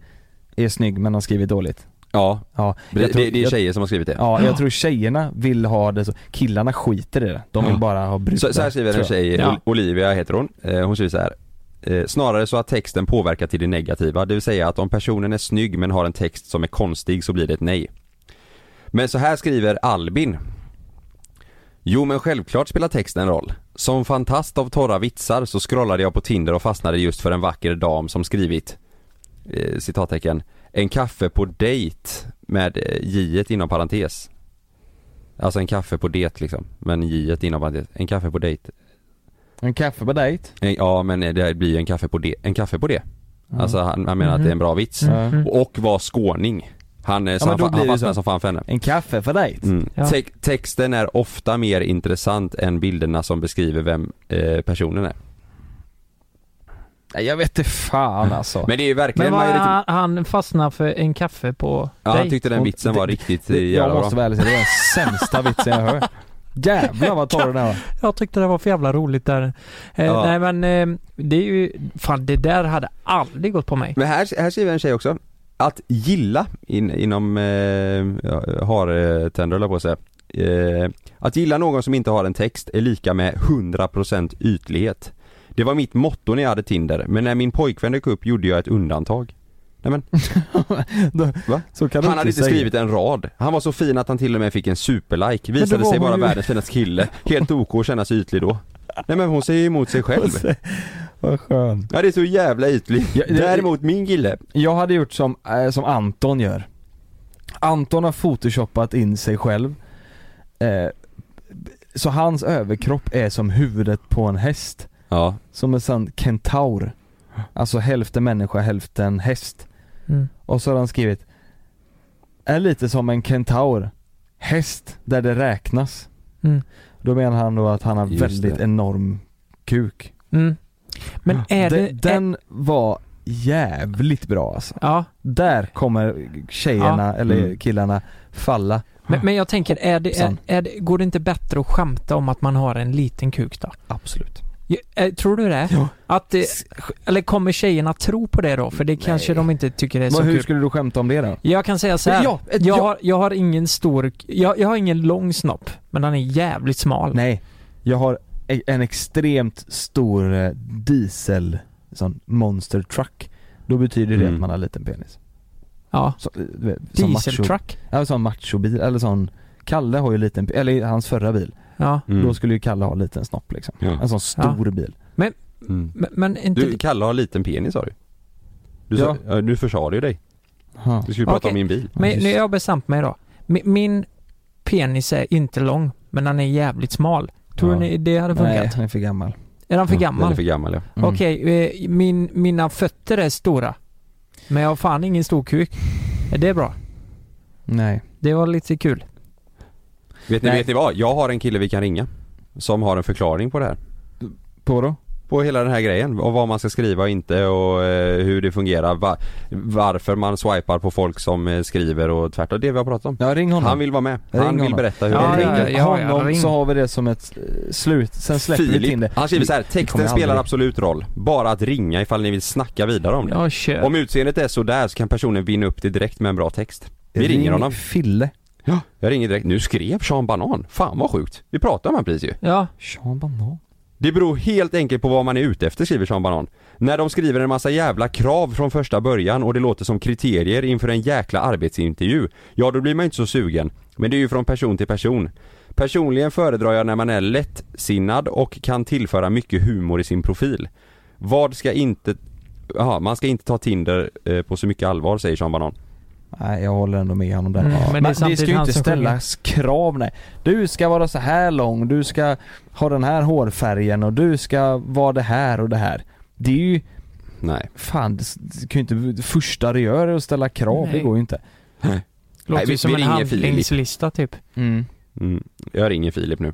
D: är snygg men har skrivit dåligt.
C: ja
D: Ja,
C: det,
D: jag tror-
C: det, det är
D: jag-
C: tjejer som har skrivit det.
D: Ja, jag tror tjejerna vill ha det så. Killarna skiter i det. De vill
C: Ja.
D: bara ha brudar.
C: Så, så här skriver en
D: tror jag.
C: tjej,
B: Ja.
C: Olivia heter hon. Eh, Hon skriver så här. eh, Snarare så att texten påverkar till det negativa, det vill säga att om personen är snygg men har en text som är konstig så blir det ett nej. Men så här skriver Albin. Jo men självklart spelar texten en roll. Som fantast av torra vitsar så scrollade jag på Tinder och fastnade just för en vacker dam som skrivit eh, citattecken En kaffe på dejt med eh, j inom parentes. Alltså en kaffe på det liksom, men j inom parentes. En kaffe på dejt.
D: En kaffe på dejt.
C: Nej, Ja men det blir ju en kaffe på det, en kaffe på det. Alltså han, han menar att det är en bra vits.
D: Mm.
C: Och var skåning. Han, eh, så
D: men
C: han,
D: då
C: fa-
D: blir
C: han
D: det
C: fastnade
D: så.
C: som fan för henne.
D: En kaffe för dejt.
C: Mm.
B: Ja.
C: Te- texten är ofta mer intressant än bilderna som beskriver vem eh, personen är.
D: Nej jag vet inte fan alltså.
C: Men det är ju
B: Men
C: verkligen
B: vad,
C: majoriteten.
B: han, han fastnar för en kaffe på
C: Ja,
B: dig.
C: han tyckte den
D: Och
C: vitsen var
D: det-
C: riktigt eh,
D: Det- jag
C: jävla
D: måste
C: bra.
D: vara ärlig och säga, det är den sämsta vitsen jag hör. Jävlar vad torr den här var.
B: Jag tyckte det var för jävla roligt där. Eh,
C: Ja.
B: Nej men eh, det är ju, fan det där hade aldrig gått på mig.
C: Men här, här skriver en tjej också. Att gilla in, inom eh, ja, har-tänder höll jag på att säga. Eh, att gilla någon som inte har en text är lika med 100% ytlighet. Det var mitt motto när jag hade Tinder, men när min pojkvän dök upp gjorde jag ett undantag. Nej men,
D: Då-
C: va?
D: Så kan du
C: Han hade inte
D: säga.
C: skrivit en rad. Han var så fin att han till och med fick en superlike.
B: då
C: Visade
B: var
C: sig vara
B: hon ju-
C: världens finaste kille. Helt OK att känna sig ytlig då. Nej men hon säger ju emot sig själv.
D: Vad skön.
C: Ja det är så jävla ytligt.
D: Ja, det-
C: Däremot min kille,
D: Jag hade gjort som, eh, som Anton gör. Anton har photoshoppat in sig själv. Eh, så hans överkropp är som huvudet på en häst.
C: ja
D: Som en sån kentaur. Alltså hälften människa, hälften häst.
B: Mm.
D: Och så har han skrivit Är lite som en kentaur Häst där det räknas
B: Mm.
D: Då menar han då att han har
C: Just
D: väldigt
C: det.
D: enorm kuk
B: Mm. Men är
D: Den,
B: det... är,
D: den var jävligt bra alltså
B: ja.
D: Där kommer tjejerna
B: Ja.
D: eller
C: Mm.
D: killarna falla
B: Men, men jag tänker, är det, är,
D: Hoppsan.
B: är det, går det inte bättre att skämta om att man har en liten kuk då?
D: Absolut
B: Ja, eh, Tror du det?
D: Ja.
B: Att, eh, eller kommer tjejerna tro på det då? För det kanske de inte tycker det är så
D: Men hur
B: kul.
D: skulle du skämta om det då?
B: Jag kan säga så här.
D: Ja, ett-
B: jag,
D: ja.
B: har, jag har ingen stor, jag, jag har ingen lång snopp, men den är jävligt smal.
D: Nej, jag har e- en extremt stor eh, diesel, sån monster truck Då betyder det
C: Mm.
D: att man har liten penis
B: Ja.
D: så, eh, du vet, som macho-
B: Dieseltruck.
D: Ja, sån machobil, eller sån Kalle har ju liten, eller i hans förra bil,
B: Ja.
C: Mm.
D: då skulle ju Kalle ha liten snopp liksom
C: Ja.
D: En sån stor bil
C: Mm.
B: Men, men inte...
C: Du, Kalle har liten penis sa du? Du, sa, ja. du försade ju dig.
D: Ja.
C: Du skulle prata
B: Okej.
C: om min bil.
B: men
D: just-
B: nu har jag bestämt mig då. Mi- min penis är inte lång, men den är jävligt smal. Tror
D: Ja.
B: ni det hade
D: Nej,
B: funkat?
D: han är för gammal
B: Är den för
C: Den
B: gammal?
C: är för gammal ja.
D: Mm.
B: Okej, eh, min, mina fötter är stora. Men jag har fan ingen stor kuk. Är det bra?
D: Nej
B: Det var lite kul.
C: Vet ni,
D: Nej.
C: vet ni vad? Jag har en kille vi kan ringa. Som har en förklaring på det här.
D: På då?
C: På hela den här grejen. Och vad man ska skriva och inte och eh, hur det fungerar. Va, varför man swipar på folk som eh, skriver och tvärtom. Det vi har pratat om.
D: Ja ring honom
C: Han vill vara med.
D: Ring
C: Han vill
D: honom.
C: berätta hur
B: Ja,
C: han
D: ring
B: ja, ja, ja,
D: honom
B: ring.
D: så har vi det som ett eh, slut, sen släpper vi Tinder
C: Filip, han skriver så här,
D: Vi kommer
C: texten
D: aldrig-
C: spelar absolut roll. Bara att ringa ifall ni vill snacka vidare om det.
B: Jag kör.
C: Om utseendet är sådär så kan personen vinna upp det direkt med en bra text. Vi ringer
D: Ring
C: honom.
D: Fille
C: Ja. Jag ringer direkt. Nu skrev Sean Banan. Fan vad sjukt. Vi pratar om han precis ju.
B: Ja.
D: Sean Banan
C: Det beror helt enkelt på vad man är ute efter skriver Sean Banan. När de skriver en massa jävla krav från första början och det låter som kriterier inför en jäkla arbetsintervju, ja då blir man ju inte så sugen. Men det är ju från person till person. Personligen föredrar jag när man är lättsinnad och kan tillföra mycket humor i sin profil. Vad ska inte... Jaha, man ska inte ta Tinder eh, på så mycket allvar säger Sean Banan.
D: Nej jag håller ändå med honom där.
B: Mm, men det är
D: men vi
B: samtidigt
D: ska ju
B: han
D: inte
B: som
D: ställa krav nej. Du ska vara så här lång, du ska ha den här hårfärgen och du ska vara det här och det här. Det är ju,
C: Nej.
D: fan det s- det kan ju inte, det första du gör är att ställa krav,
B: Nej.
D: det går ju inte.
B: Låter
C: Nej, vi-
B: ju som
C: vi
B: en
C: ringer Filip.
B: handlingslista typ.
C: Mm. Jag ringer Filip nu.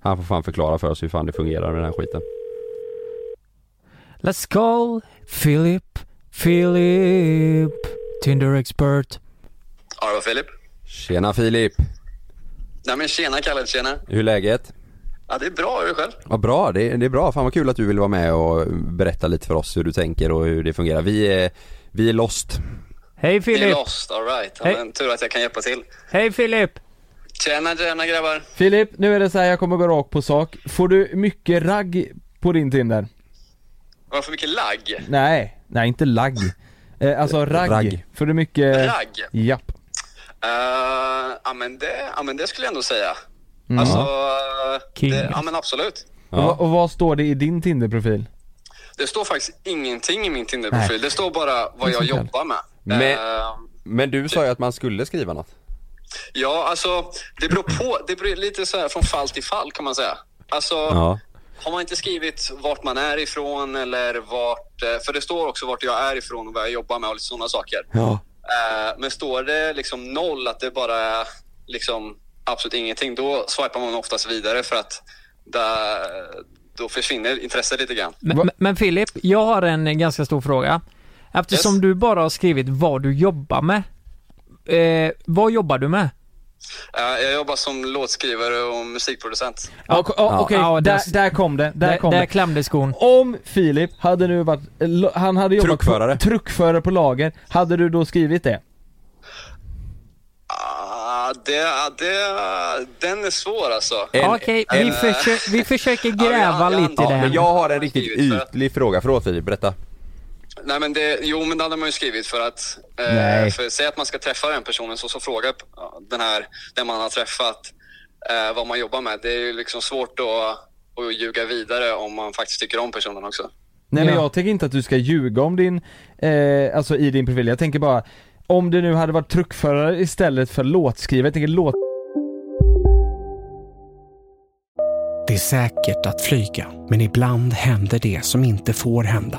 C: Han får fan förklara för oss hur fan det fungerar med den här skiten.
B: Let's call Philip, Philip, Tinder expert.
F: Ja, det var Filip.
C: Tjena Filip!
F: Nej men tjena Kalle, tjena.
C: Hur är läget?
F: Ja, det är bra. Hur är det själv?
C: Vad bra, det, det är bra. Fan vad kul att du vill vara med och berätta lite för oss hur du tänker och hur det fungerar. Vi är, vi är lost.
F: Eh.
B: Hej
F: Det är
B: Philip!
F: lost, alright. Ja,
B: Hej.
F: men tur att jag kan hjälpa till.
B: Hej Philip!
F: Tjena, tjena grabbar.
D: Filip, nu är det så här, jag kommer gå rakt på sak. Får du mycket ragg på din Tinder?
F: Var det för mycket lagg?
D: Nej, nej inte lagg. Eh, alltså ragg.
C: Ragg.
D: Får du mycket...
F: Ragg?
D: Japp.
F: Eh, ja, men det, ja, men det skulle jag ändå säga. Alltså, eh,
B: King.
F: det, ja men absolut.
D: Mm. Och, vad- och vad står det i din Tinder-profil?
F: Det står faktiskt ingenting i min Tinder-profil. Det står bara vad jag jobbar med.
C: Men-
F: Eh,
C: Men du sa ju att man skulle skriva något.
F: ja, alltså det beror på. Det beror lite så här från fall till fall kan man säga. Alltså,
C: Ja.
F: Har man inte skrivit vart man är ifrån eller vart... eh, För det står också vart jag är ifrån och vad jag jobbar med och lite sådana saker.
C: Ja.
F: Eh, Men står det liksom noll, att det bara är liksom absolut ingenting, då swipar man oftast vidare för att där, då försvinner intresset lite grann.
B: Men, men- men Filip, jag har en ganska stor fråga. Eftersom
F: Yes.
B: du bara har skrivit vad du jobbar med. Eh, vad jobbar du med?
F: Eh, Jag jobbar som låtskrivare och musikproducent.
D: Ja, ok- ja, Okej,
B: Ja,
D: där,
B: det-
D: där kom det. Där,
B: Där,
D: kom
B: där
D: det.
B: klämde skon.
D: Om Filip hade nu varit, lo- han hade jobbat
C: Truckförare.
D: På, truckförare på lager, hade du då skrivit det?
F: Ah, det, ah, det, den är svår alltså.
C: En-
B: Okej, vi,
C: en-
B: försö- vi försöker
F: jag-
B: gräva
F: jag-
B: lite i
F: ja,
B: det
C: Ja,
B: här.
C: men jag har en riktigt ytlig fråga. Förlåt Filip, berätta.
F: Nej men det, jo men det hade man ju skrivit för att, eh,
D: Nej.
F: för säg att man ska träffa den personen så, så frågar ja, den här, den man har träffat eh, vad man jobbar med. Det är ju liksom svårt att, att ljuga vidare om man faktiskt tycker om personen också.
D: Nej men
B: Ja.
D: jag tänker inte att du ska ljuga om din, eh, alltså i din profil. Jag tänker bara, om det nu hade varit truckförare istället för låtskrivare, jag tänker låt...
G: Det är säkert att flyga, men ibland händer det som inte får hända.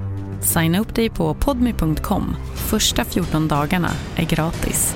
H: Signa upp dig på podmi.com. Första 14 dagarna är gratis.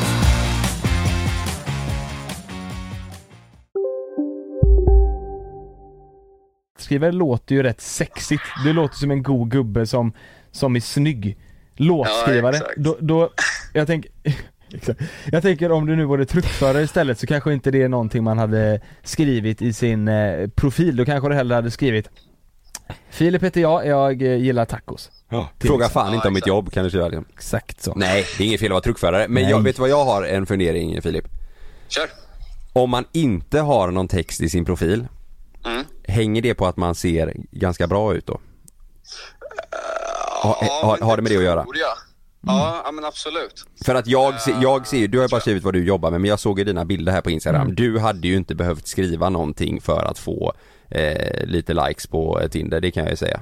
D: skriver låter ju rätt sexigt. Det låter som en god gubbe som, som är snygg. Låtskrivare.
I: Ja, exakt.
D: då, då, jag tänker Exakt. Jag tänker om du nu vore truckförare istället så kanske inte det är någonting man hade skrivit i sin eh, profil. Då kanske du hellre hade skrivit Filip heter jag, jag eh, gillar tacos. Till
C: Fråga
D: exempel.
C: fan inte om mitt jobb kan du skriva det.
D: liksom- Exakt så.
C: Nej, det är inget fel att vara truckförare. Men
D: Nej.
C: jag, vet du vad jag har en fundering Filip?
F: Kör.
C: Om man inte har någon text i sin profil,
F: Mm.
C: hänger det på att man ser ganska bra ut då? Ha,
F: Ja,
C: ha,
F: men
C: har det med det att göra?
F: tror jag. Ja, ja, men absolut.
C: För att jag, se, jag ser ju, du har ju bara skrivit vad du jobbar med men jag såg ju dina bilder här på Instagram.
F: Mm.
C: Du hade ju inte behövt skriva någonting för att få eh, lite likes på eh, Tinder, det kan jag ju säga.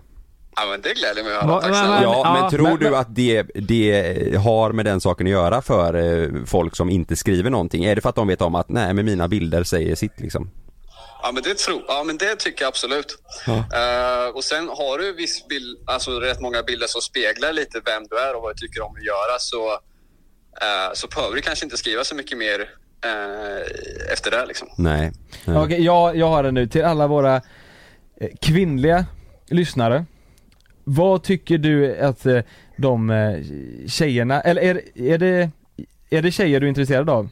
F: Ja, men det gläder mig att höra.
C: Ja,
F: Tack snälla.
C: men tror du att det, det har med den saken att göra för eh, folk som inte skriver någonting? Är det för att de vet om att nej men mina bilder säger sitt liksom?
F: Ja, men det tror Ja, men det tycker jag absolut.
C: Ja.
F: Eh, och sen har du viss bild, alltså rätt många bilder som speglar lite vem du är och vad du tycker om att göra så, eh, så behöver du kanske inte skriva så mycket mer eh, efter det liksom.
C: Nej.
D: Okej, jag, jag har den nu till alla våra eh, kvinnliga lyssnare. Vad tycker du att eh, de eh, tjejerna, eller är, är, det, är det tjejer du är intresserad av?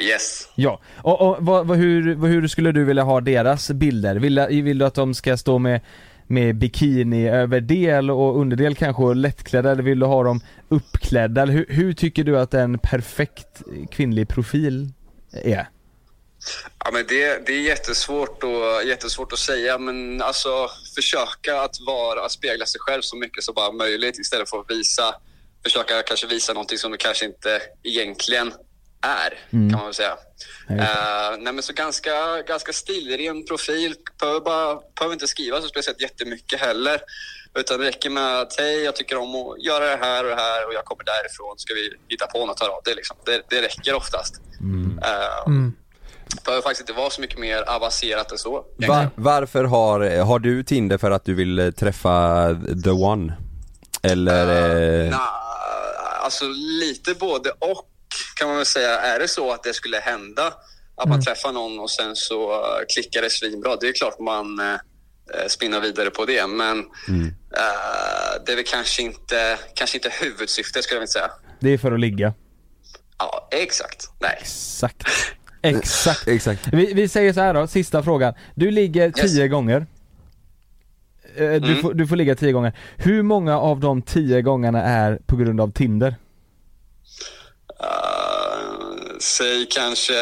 F: Yes.
D: Ja, och, och vad, vad, hur, vad, hur skulle du vilja ha deras bilder? Vill, vill du att de ska stå med, med bikini överdel och underdel kanske och lättklädda eller vill du ha dem uppklädda? Eller hur, hur tycker du att en perfekt kvinnlig profil är?
F: Ja, men det, det är jättesvårt, och, jättesvårt att säga, men alltså försöka att vara, att spegla sig själv så mycket som bara möjligt istället för att visa, försöka kanske visa någonting som du kanske inte egentligen är,
J: Mm.
F: kan man väl säga.
J: Ja, just
F: Eh, nej, men så ganska, ganska stilren profil, behöver, bara, behöver inte skriva så speciellt jättemycket heller. Utan det räcker med att hej, jag tycker om att göra det här och det här och jag kommer därifrån, ska vi hitta på något av det liksom. Det, det räcker oftast. Eh, det behöver faktiskt inte vara så mycket mer avancerat än så.
C: Var, varför har, har du Tinder för att du vill eh, träffa the one? Eller? eh,
F: Nja, alltså lite både och kan man väl säga. Är det så att det skulle hända att man träffar någon och sen så eh, klickar det svinbra, det är klart man eh, eh, spinner vidare på det. Men eh, det är väl kanske inte, kanske inte huvudsyftet skulle jag vilja säga.
D: Det är för att ligga.
F: Ja, exakt. Nej.
D: Exakt. Exakt. Vi, vi säger så här då, sista frågan. Du ligger tio gånger. Eh, Du,
F: Mm.
D: får, du får ligga tio gånger. Hur många av de tio gångerna är på grund av Tinder?
F: Eh, säg kanske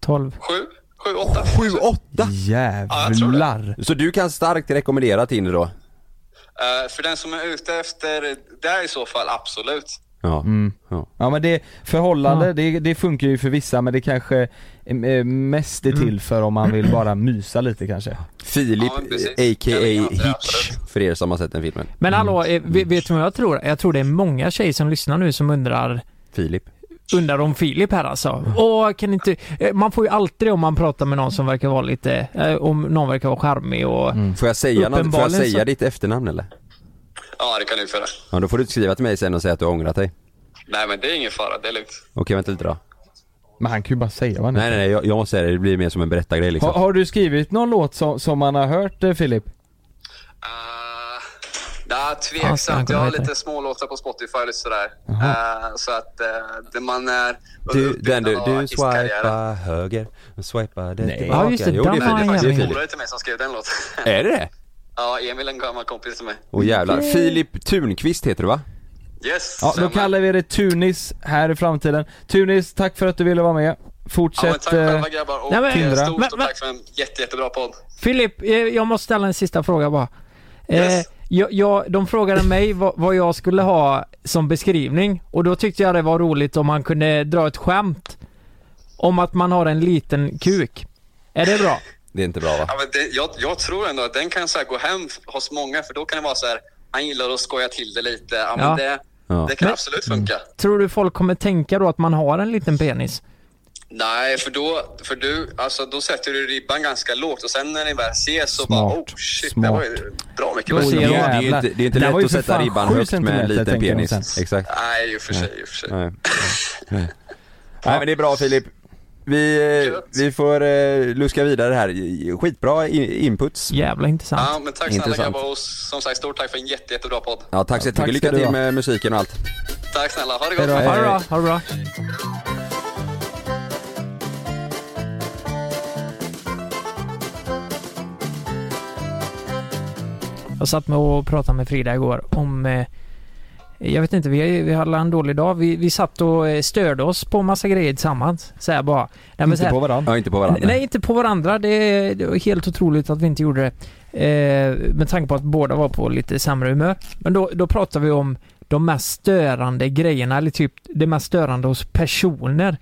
D: 12.
F: sju, sju, åtta.
C: 7, 8?
D: Jävlar!
C: Så du kan starkt rekommendera Tinder då?
F: Eh, för den som är ute efter det i så fall, absolut.
C: Ja.
D: Mm.
C: ja.
D: men det, förhållande, det, det funkar ju för vissa men det kanske eh, mest är till för om man vill bara mysa lite kanske.
C: Filip,
D: Ja, men precis.
C: eh, a.k.a. Hitch, för er som har sett den filmen.
B: Men hallå, eh, ve- vet du vad jag tror? Jag tror det är många tjejer som lyssnar nu som undrar
C: Filip.
B: Undrar om Filip här alltså. Åh, kan inte... eh, Man får ju alltid om man pratar med någon som verkar vara lite... eh, Om någon verkar vara charmig och...
C: Får jag säga, något, får jag
B: Uppenbarligen
C: säga
B: så-
C: ditt efternamn eller?
F: Ja, det kan du föra.
C: Ja, då får du inte skriva till mig sen och säga att du har ångrat dig.
F: Nej, men det är ingen fara. Det är lugnt.
C: Okej, vänta lite då.
D: Men han kan ju bara säga vad han
C: Nej, nej, nej, jag, jag måste säga det. Det blir mer som en berättargrej liksom.
D: har, har du skrivit någon låt som, som man har hört eh, Filip?
F: Nej, Ja, tveksamt.
B: Askan,
F: Jag har
B: vad heter
F: lite
B: det?
F: smålåtar på Spotify och sådär. Eh, så att eh, det man är...
C: Du, den du,
F: uppbyggnaden av
C: du
F: artistkarriären.
C: swipar höger, och swipar det
F: Nej.
C: tillbaka.
F: Ja, just det,
C: jo, det
F: den
C: är
F: var jag
C: Filip. Det är
F: faktiskt en
C: Filip.
F: polare till mig som skrev den låten.
C: Är det det?
F: Ja, Emil är en gammal kompis till mig.
C: Åh jävlar.
F: Okej.
C: Filip Tunqvist heter du va?
F: Yes,
D: Ja, då
F: stämmer.
D: kallar vi det Tunis här i framtiden. Tunis, tack för att du ville vara med.
F: Ja, men
D: Fortsätt
F: tack själva
D: eh,
F: grabbar och
D: Nej, men-
F: eh, stort,
D: tindra.
F: stort tack för en jätte, jättebra podd.
B: Filip, eh, jag måste ställa en sista fråga bara. Eh, jag, jag, de frågade mig vad, vad jag skulle ha som beskrivning och då tyckte jag det var roligt om man kunde dra ett skämt om att man har en liten kuk. Är det bra?
C: Det är inte bra va?
F: Ja, men det, jag, jag tror ändå att den kan så här gå hem f- hos många för då kan det vara så här, han gillar att skoja till det lite. Ja, men
B: Ja.
F: Det, det kan
B: Men-
F: absolut funka.
B: Tror du folk kommer tänka då att man har en liten penis?
F: Nej, för då, för du, alltså, då sätter du ribban ganska lågt och sen när ni väl ses så bara oh shit, det var ju bra mycket
C: Det,
F: bättre.
C: är- det är ju inte, det är inte lätt att sätta ribban högt med en liten penis. Exakt.
F: Nej, i och för sig. i och för sig.
C: Nej. Nej. Nej men det är bra Filip. Vi, eh, vi får eh, luska vidare här. Skitbra i- inputs.
B: Jävla intressant.
F: Ja, men tack snälla grabbar och som sagt stort tack för en jätte, jättebra podd.
C: Ja, tack så
F: Tack
C: jättemycket.
F: ska
C: Lycka
F: du
C: till
F: ha.
C: med musiken och allt.
F: Tack snälla, ha det gott.
C: Hej då. Ha det bra,
B: ha det bra. Jag satt med och pratade med Frida igår om... Eh, jag vet inte, vi, vi hade en dålig dag. Vi, vi satt och eh, störde oss på massa grejer tillsammans. Så här bara. Nej, men så här-
C: varandra. Ja, inte på varandra.
B: Nej, inte på varandra. Det är, det är helt otroligt att vi inte gjorde det. Eh, med tanke på att båda var på lite sämre humör. Men då, då pratar vi om de mest störande grejerna, eller typ det mest störande hos personer.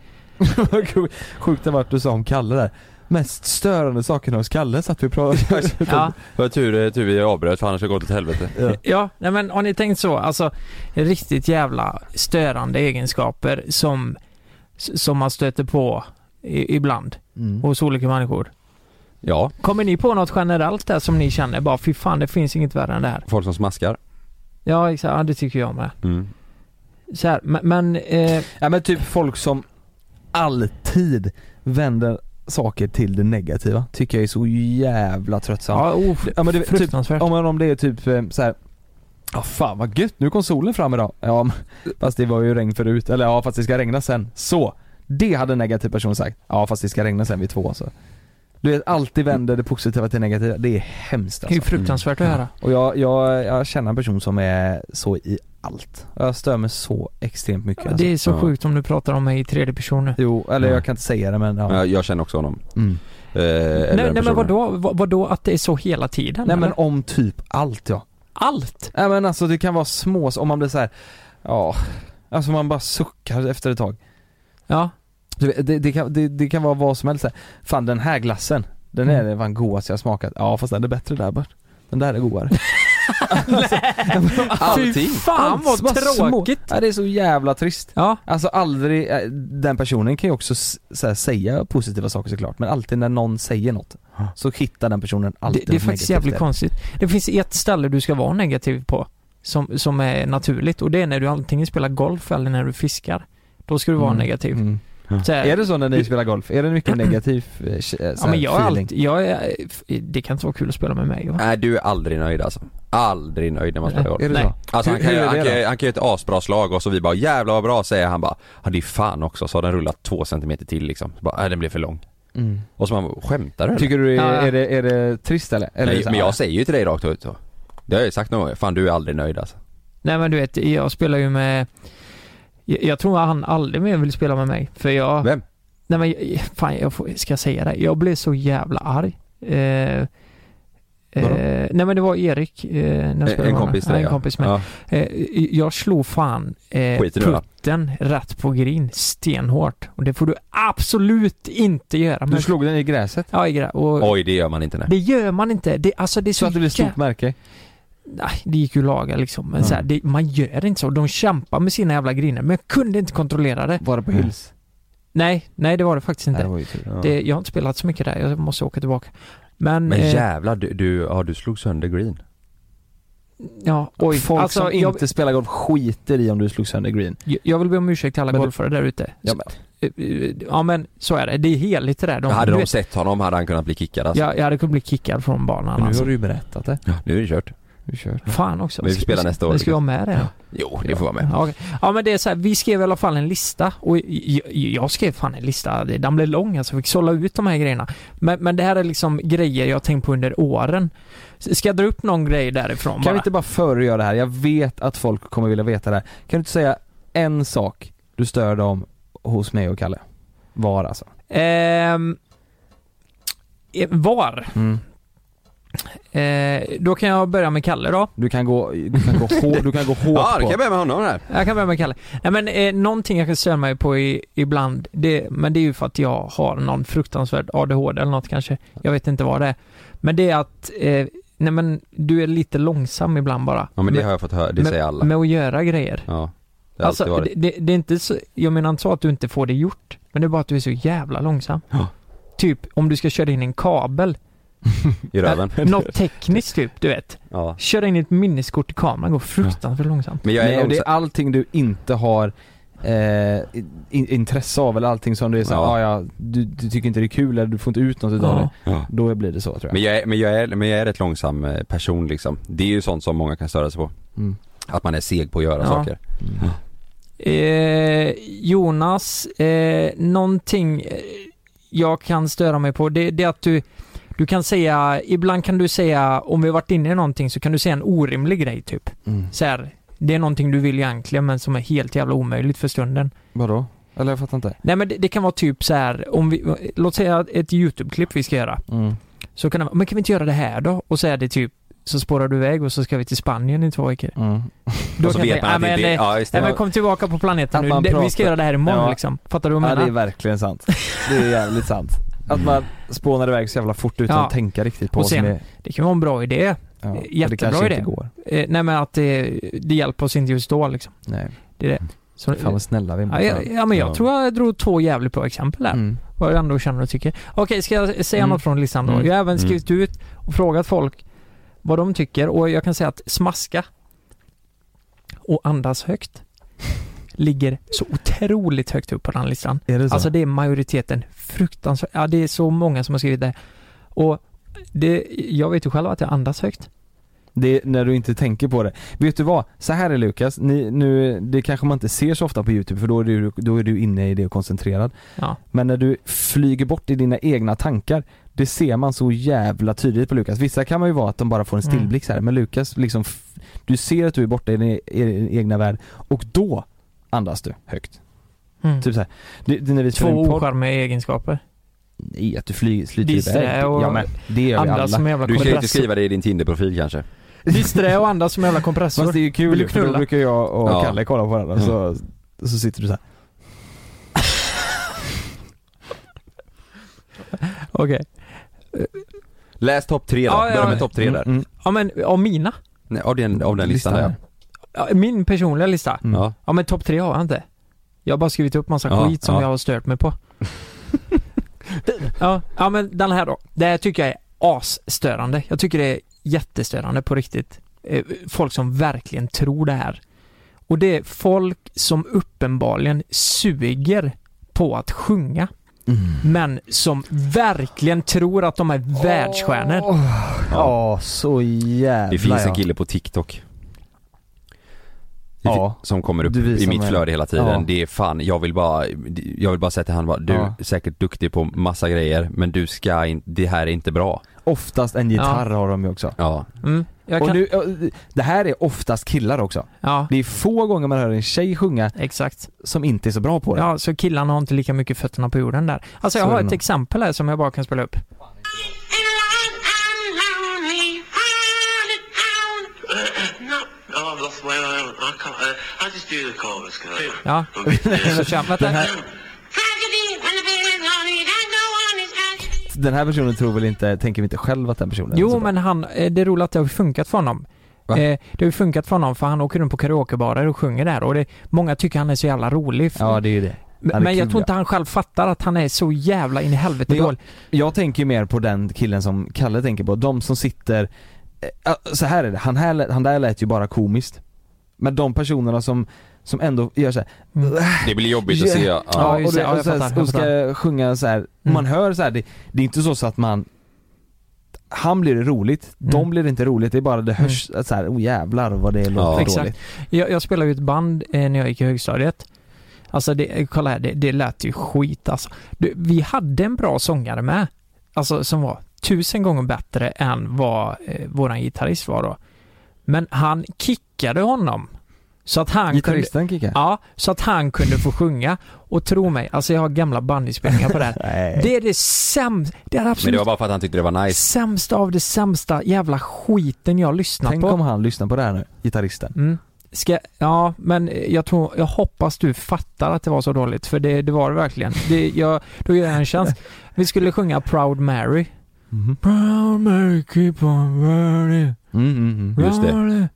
D: Sjukt det vart du sa om Kalle där. Mest störande sakerna hos Kalle satt vi och pratade
B: Ja.
C: Vad tur, tur vi avbröt för annars har det gått åt helvete.
B: Ja, nej men har ni tänkt så? Alltså, riktigt jävla störande egenskaper som, som man stöter på i, ibland
F: Mm.
B: hos olika människor.
C: Ja.
B: Kommer ni på något generellt där som ni känner bara fy fan det finns inget värre än det här?
C: Folk som smaskar.
B: Ja, exakt. Ja, det tycker jag med.
C: Mm.
B: Så här, men... men eh...
D: Ja men typ folk som alltid vänder saker till det negativa. Tycker jag är så jävla tröttsamt.
B: Ja, of-
D: men det, typ,
B: fruktansvärt.
D: om, man- om det är typ eh, så här. Ja fan vad gött, nu kom solen fram idag. Ja men, fast det var ju regn förut, eller ja fast det ska regna sen. Så! Det hade en negativ person sagt. Ja fast det ska regna sen vid två så. Du vet, alltid vänder det positiva till det negativa. Det är hemskt alltså.
B: Det är ju fruktansvärt
D: Mm.
B: att höra.
D: Och jag, jag, jag känner en person som är så i allt. Jag stör mig så extremt mycket alltså.
B: Ja, Det är så sjukt om du pratar om mig i tredje person nu.
D: Jo, eller
B: Ja.
D: jag kan inte säga det men ja. Mm.
C: Jag, jag känner också honom. Eh, eller
B: Nej,
C: den
B: nej men
C: personen.
B: vadå, vad, vadå att det är så hela tiden?
D: Nej men
B: eller?
D: om typ allt ja.
B: Allt?
D: Nej men alltså det kan vara små, om man blir så här, ja, alltså man bara suckar efter ett tag.
B: Ja.
D: Du vet, det, det, kan, det, det kan vara vad som helst så här. fan den här glassen, den är mm. fan godaste jag smakat. Ja fast den är bättre där bort. Den där är godare.
B: Allting. Fy fan
D: Allt
B: vad
D: bara små.
B: tråkigt.
D: Ja, det är så jävla trist.
B: Ja.
D: Alltså aldrig, eh, den personen kan ju också s- så här, säga positiva saker såklart men alltid när någon säger något så hittar den personen
B: Det,
D: alltid
B: det är
D: något
B: faktiskt
D: negativt
B: jävligt
D: där.
B: konstigt. Det finns ett ställe du ska vara negativ på som, som är naturligt och det är när du antingen spelar golf eller när du fiskar. Då ska du vara
D: Mm,
B: negativ.
D: mm.
B: Så här-
D: Är det så när ni spelar golf? Är det mycket negativ eh, k- så
B: Ja
D: här,
B: men jag är
D: feeling?
B: alltid, jag är, det kan inte vara kul att spela med mig va?
C: Nej du är aldrig nöjd alltså. Aldrig nöjd när man spelar
B: Nej.
C: golf.
B: Är det så?
C: Nej. Alltså han
B: Hur-
C: kan,
B: hur
C: ju-
B: är det
C: han, kan,
B: då?
C: han kan ju ett asbra slag och så vi bara jävlar vad bra säger han bara. Ja det är fan också så har den rullat två centimeter till liksom. Så bara, nej den blev för lång.
D: Mm.
C: Och så man bara, skämtar du
D: Tycker du det
C: eller?
D: är, är, det, är det trist eller? eller
C: Nej,
D: så här, ah.
C: men
D: ja.
C: jag säger ju till dig rakt ut så. Det har jag ju sagt någon gång, fan du är aldrig nöjd alltså.
B: Nej men du vet, jag spelar ju med jag, jag tror att han aldrig mer vill spela med mig för jag
C: Vem?
B: Nej men jag- fan jag får, ska jag säga det? Jag blev så jävla arg eh, Eh, nej men det var Erik, eh, när jag spelade med
C: en
B: honom.
C: kompis till
B: ja,
C: dig,
B: en
C: ja.
B: kompis med.
C: Ja.
B: Eh, jag slog fan eh,
C: Skit i det, va?
B: putten rätt på green stenhårt. Och det får du absolut inte göra.
D: Du slog den i gräset?
B: Ja, i grä- och
C: Oj det gör man inte nej.
B: Det gör man inte. Det, alltså det är så,
D: Så att det blir ett
B: jä-
D: stort märke?
B: Nej, det gick ju att laga liksom. Men
D: Ja.
B: så här, det, man gör inte så. De kämpar med sina jävla griner. Men jag kunde inte kontrollera det.
D: Var det på hyls?
B: Nej, nej det var det faktiskt inte.
C: Nej, det var ju tur. Ja.
B: Det, jag har inte spelat så mycket där. Jag måste åka tillbaka. Men,
C: Men
B: eh,
C: jävlar du, du, ja, du slog sönder green.
B: ja, oj.
D: Folk
B: alltså,
D: som
B: jag,
D: inte spelar golf skiter i om du slog sönder green.
B: jag- jag vill be om ursäkt till alla
D: Men du-
B: golfare där ute.
D: Ja,
B: Så- eh, eh, ja men så är det. Det är heligt det där. De,
C: hade
B: du
C: de
B: vet,
C: sett honom hade han kunnat bli kickad alltså.
B: jag, jag hade kunnat bli kickad från banan
D: Men nu
B: alltså.
D: har du ju berättat det.
C: Nu är det kört.
D: vi kör.
B: Fan också.
C: Vi får spela nästa år.
B: Vi ska
D: liksom.
B: vara med det.
C: Jo, det får vara med.
B: Ja, okej. ja men det är så här, vi skrev i alla fall en lista och jag, jag skrev fan en lista, Det- den blev lång alltså, jag fick sålla ut de här grejerna. Men, men det här är liksom grejer jag har tänkt på under åren. S- Ska jag dra upp någon grej därifrån
D: Kan vi inte bara föregöra det här? Jag vet att folk kommer vilja veta det här. Kan du inte säga en sak du stör dem hos mig och Kalle? Var alltså.
B: Ehm, eh, var?
D: Mm.
B: Eh, då kan jag börja med Kalle då.
D: Du kan gå, du kan gå, hår, du kan gå hårt
C: Ja,
B: på.
C: det kan jag börja med honom här.
B: Jag kan börja med Kalle. Nej men eh, någonting jag kan störa mig på i, ibland, det, men det är ju för att jag har någon fruktansvärd ADHD eller något kanske. Jag vet inte vad det är. Men det är att, eh, nej men du är lite långsam ibland bara.
C: Ja men det
B: Med-
C: har jag fått höra, det
B: med,
C: säger alla.
B: Med att göra grejer.
C: Ja. Det har alltid
B: Alltså, det,
C: varit.
B: det, det är inte så, jag menar inte så att du inte får det gjort, men det är bara att du är så jävla långsam. Typ om du ska köra in en kabel,
C: I röven.
B: Eller något tekniskt typ, du vet.
C: Ja.
B: Köra in ett minneskort i kameran går fruktansvärt långsamt.
C: Men jag är
D: Nej, och det är
C: långsam-
D: allting du inte har eh, in, intresse av eller allting som du är så,
C: Ja.
D: ja. Ah, ja, du, du tycker inte det är kul eller du får inte ut något utav
C: Ja.
D: det.
C: Ja.
D: Då blir det så tror jag.
C: Men jag, är, men, jag är, men jag är rätt långsam eh, person liksom. Det är ju sånt som många kan störa sig på.
D: Mm.
C: Att man är seg på att göra
B: Ja.
C: saker.
B: Eh, Jonas, eh, någonting eh, jag kan störa mig på, det, det är att du, du kan säga, ibland kan du säga, om vi har varit inne i någonting så kan du säga en orimlig grej typ.
D: Mm.
B: Så här, det är någonting du vill egentligen men som är helt jävla omöjligt för stunden.
D: Vadå? Eller jag fattar inte.
B: Nej men det, det kan vara typ så här, om vi, låt säga ett YouTube-klipp vi ska göra.
D: Mm.
B: Så kan det vara, men kan vi inte göra det här då? Och så är det typ, så spårar du iväg och så ska vi till Spanien i två veckor.
D: Mm.
B: Då
C: Och så
B: kan
C: vet
B: jag
C: man
B: tänka,
C: att det
B: "Nej,
C: är
B: men,
C: det.
B: eh,
C: Ja, just det.
B: nej, men kom tillbaka på planeten
D: Att
B: nu,
D: man
B: det, vi
D: pratar-
B: ska göra det här imorgon
D: Ja.
B: liksom. Fattar du vad jag
D: Ja,
B: menar?
D: det är verkligen sant. Det är jävligt sant. Att man spånar iväg så jävla fort utan
B: Ja.
D: att tänka riktigt på
B: och
D: vad som
B: sen,
D: är...
B: det kan vara en bra idé.
D: Ja, men det
B: Jättebra
D: kanske
B: idé.
D: inte går.
B: Eh, nej men att det, det hjälper oss inte just då liksom.
D: Nej.
B: Det är det. Så,
D: Fan vad snälla vi är mot
B: ja, ja,
D: varandra.
B: ja men jag tror jag drog två jävligt bra exempel där.
D: Mm.
B: Vad jag ändå känner och tycker. Okej, ska jag säga
D: Mm.
B: något från listan då?
D: Mm.
B: Jag har även
D: Mm.
B: skrivit ut och frågat folk vad de tycker och jag kan säga att smaska och andas högt ligger så otroligt högt upp på den här listan.
D: Är det så?
B: Alltså det är majoriteten. Fruktansvärt. Ja, det är så många som har skrivit det. Och det, jag vet ju själv att jag andas högt.
D: Det är när du inte tänker på det. Vet du vad? Så här är Lukas, Ni, nu, det kanske man inte ser så ofta på youtube för då är du, då är du inne i det och koncentrerad.
B: Ja.
D: Men när du flyger bort i dina egna tankar, det ser man så jävla tydligt på Lukas. Vissa kan man ju vara att de bara får en
B: Mm.
D: stillblick så här, men Lukas liksom, f- du ser att du är borta i din, e- i din egna värld och då andas du högt.
B: Mm.
D: Typ så här. Det, det, när vi
B: Två
D: spelar in podd-
B: ocharmiga egenskaper.
D: Nej, att du flyger, sliter
B: Disträ
D: iväg.
B: och
D: Ja men, det gör vi
B: andas
D: alla.
B: som en jävla
C: Du ska ju inte
B: kompressor.
C: skriva det i din Tinder-profil kanske.
B: Disträ och andas som jävla kompressor.
D: Fast det är ju
B: Vill du
D: kul för då
B: knulla?
D: brukar jag och
C: Ja. Mm.
D: Kalle kolla på varandra så, så sitter du så här.
B: Okej.
C: Läs topp tre då.
B: Ja, ja, ja.
C: Börja med
B: Mm,
C: topp
D: Mm,
C: tre där.
B: Ja men av mina?
C: Nej, av, den, av den listan där.
B: Ja, Min personliga lista?
C: Mm. Ja.
B: Ja men topp tre har jag inte. Jag har bara skrivit upp massa
C: Ja,
B: skit som
C: ja.
B: jag har stört mig på. ja, ja men den här då. Det här tycker jag är asstörande. Jag tycker det är jättestörande på riktigt. Eh, Folk som verkligen tror det här. Och det är folk som uppenbarligen suger på att sjunga. Men som verkligen tror att de är världsstjärnor.
D: Ja, så jävla
C: Det finns
D: ja.
C: en kille på TikTok. Det
D: Ja.
C: fi- Som kommer upp
D: Du visar
C: i mitt
D: mig.
C: flöde hela tiden.
D: Ja.
C: Det är fan, jag vill bara, jag vill bara säga till han bara, du
D: Ja.
C: är säkert duktig på massa grejer men du ska inte, det här är inte bra.
D: Oftast en gitarr har de ju också.
C: Ja.
B: Mm, jag
D: Och
B: kan-
D: nu, det här är oftast killar också.
B: Ja.
D: Det är få gånger man hör en tjej sjunga
B: Exakt.
D: som inte är så bra på det.
B: Ja, så killarna har inte lika mycket fötterna på jorden där. Alltså jag
D: Så
B: har
D: är det
B: ett
D: nog.
B: exempel här som jag bara kan spela upp.
I: No, I've lost my own. I can't. Uh, I just do the chorus, can I?
B: Typ. Ja. Så kör, vänta.
D: Den här personen tror väl inte, tänker väl inte själv att den personen är så
B: Jo,
D: bra.
B: men han, eh, det är roligt att det har funkat för honom. Eh, det har ju funkat för honom för han åker runt på karaokebarer och sjunger där och det, många tycker han är så jävla rolig.
D: Ja, det är ju det. Han
B: Men,
D: är
B: men jag
D: kul,
B: tror
D: ja.
B: inte han själv fattar att han är så jävla in i helvete
D: Men jag,
B: dålig.
D: jag tänker ju mer på den killen som Kalle tänker på, de som sitter eh, ah, så här är det, han, här, lät- han där lät ju bara komiskt Men de personerna som, som ändå gör såhär
C: Det blir jobbigt att se. Ja.
D: Ja, och,
B: just det.
D: det,
B: Ja,
D: och,
B: jag
D: så
B: fattar, Mm.
D: här,
B: jag
D: och ska sjunga så här. man hör så här, det, det är inte så, så att man han blir det roligt,
B: Mm.
D: de blir det inte roligt, det är bara det hörs så här, oh jävlar vad det låter dåligt.
B: Exakt. Jag, jag spelade ju ett band eh, när jag gick i högstadiet. Alltså det, kolla här, det, det lät ju skit alltså. Du, vi hade en bra sångare med. Alltså som var tusen gånger bättre än vad eh, våran gitarrist var då. Men han kickade honom. Så att han
D: Gitarristen
B: kunde,
D: kickade?
B: Ja, så att han kunde få sjunga. Och tro mig, alltså jag har gamla bandinspelningar på det här. det är det sämsta, det är det
C: Men
B: absolut
C: det var bara för att han tyckte det var nice.
B: sämsta av det sämsta jävla skiten jag lyssnat
D: Tänk
B: på.
D: om han lyssnar på det här nu, gitarristen.
B: Mm. Ska, ja, men jag tror, jag hoppas du fattar att det var så dåligt, för det, det var det verkligen. Det, jag, då gör jag en chans. Vi skulle sjunga Proud Mary. Mm-hmm. Proud Mary keep on burning. mm,
C: Just det.
B: Äh,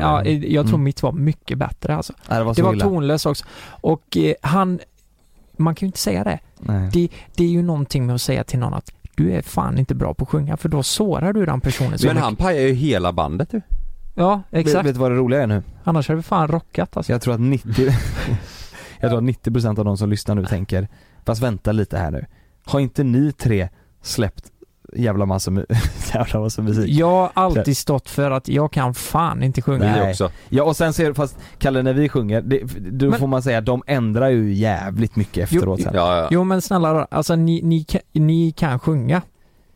B: Ja, jag
C: Mm.
B: tror mitt var mycket bättre alltså.
D: Ja, det var så
B: det var
D: illa.
B: tonlöst också. Och eh, han, man kan ju inte säga det.
D: Nej.
B: det. Det är ju någonting med att säga till någon att du är fan inte bra på att sjunga, för då sårar du den personen så
C: Men
B: mycket.
C: han pajar ju hela bandet ju.
B: Ja,
D: Vet,
B: exakt.
D: vet du vad det roliga är nu?
B: Annars hade vi fan rockat alltså.
D: Jag tror att 90 Jag tror att 90% av de som lyssnar nu tänker Fast vänta lite här nu Har inte ni tre släppt jävla massa, mu- jävla massa musik?
B: Jag har alltid stått för att jag kan fan inte sjunga.
D: Nej. Ja och sen ser fast Kalle när vi sjunger, det, då
B: Men-
D: får man säga de ändrar ju jävligt mycket efteråt sen ja,
B: Jo men snälla då, alltså ni, ni, kan- ni kan sjunga.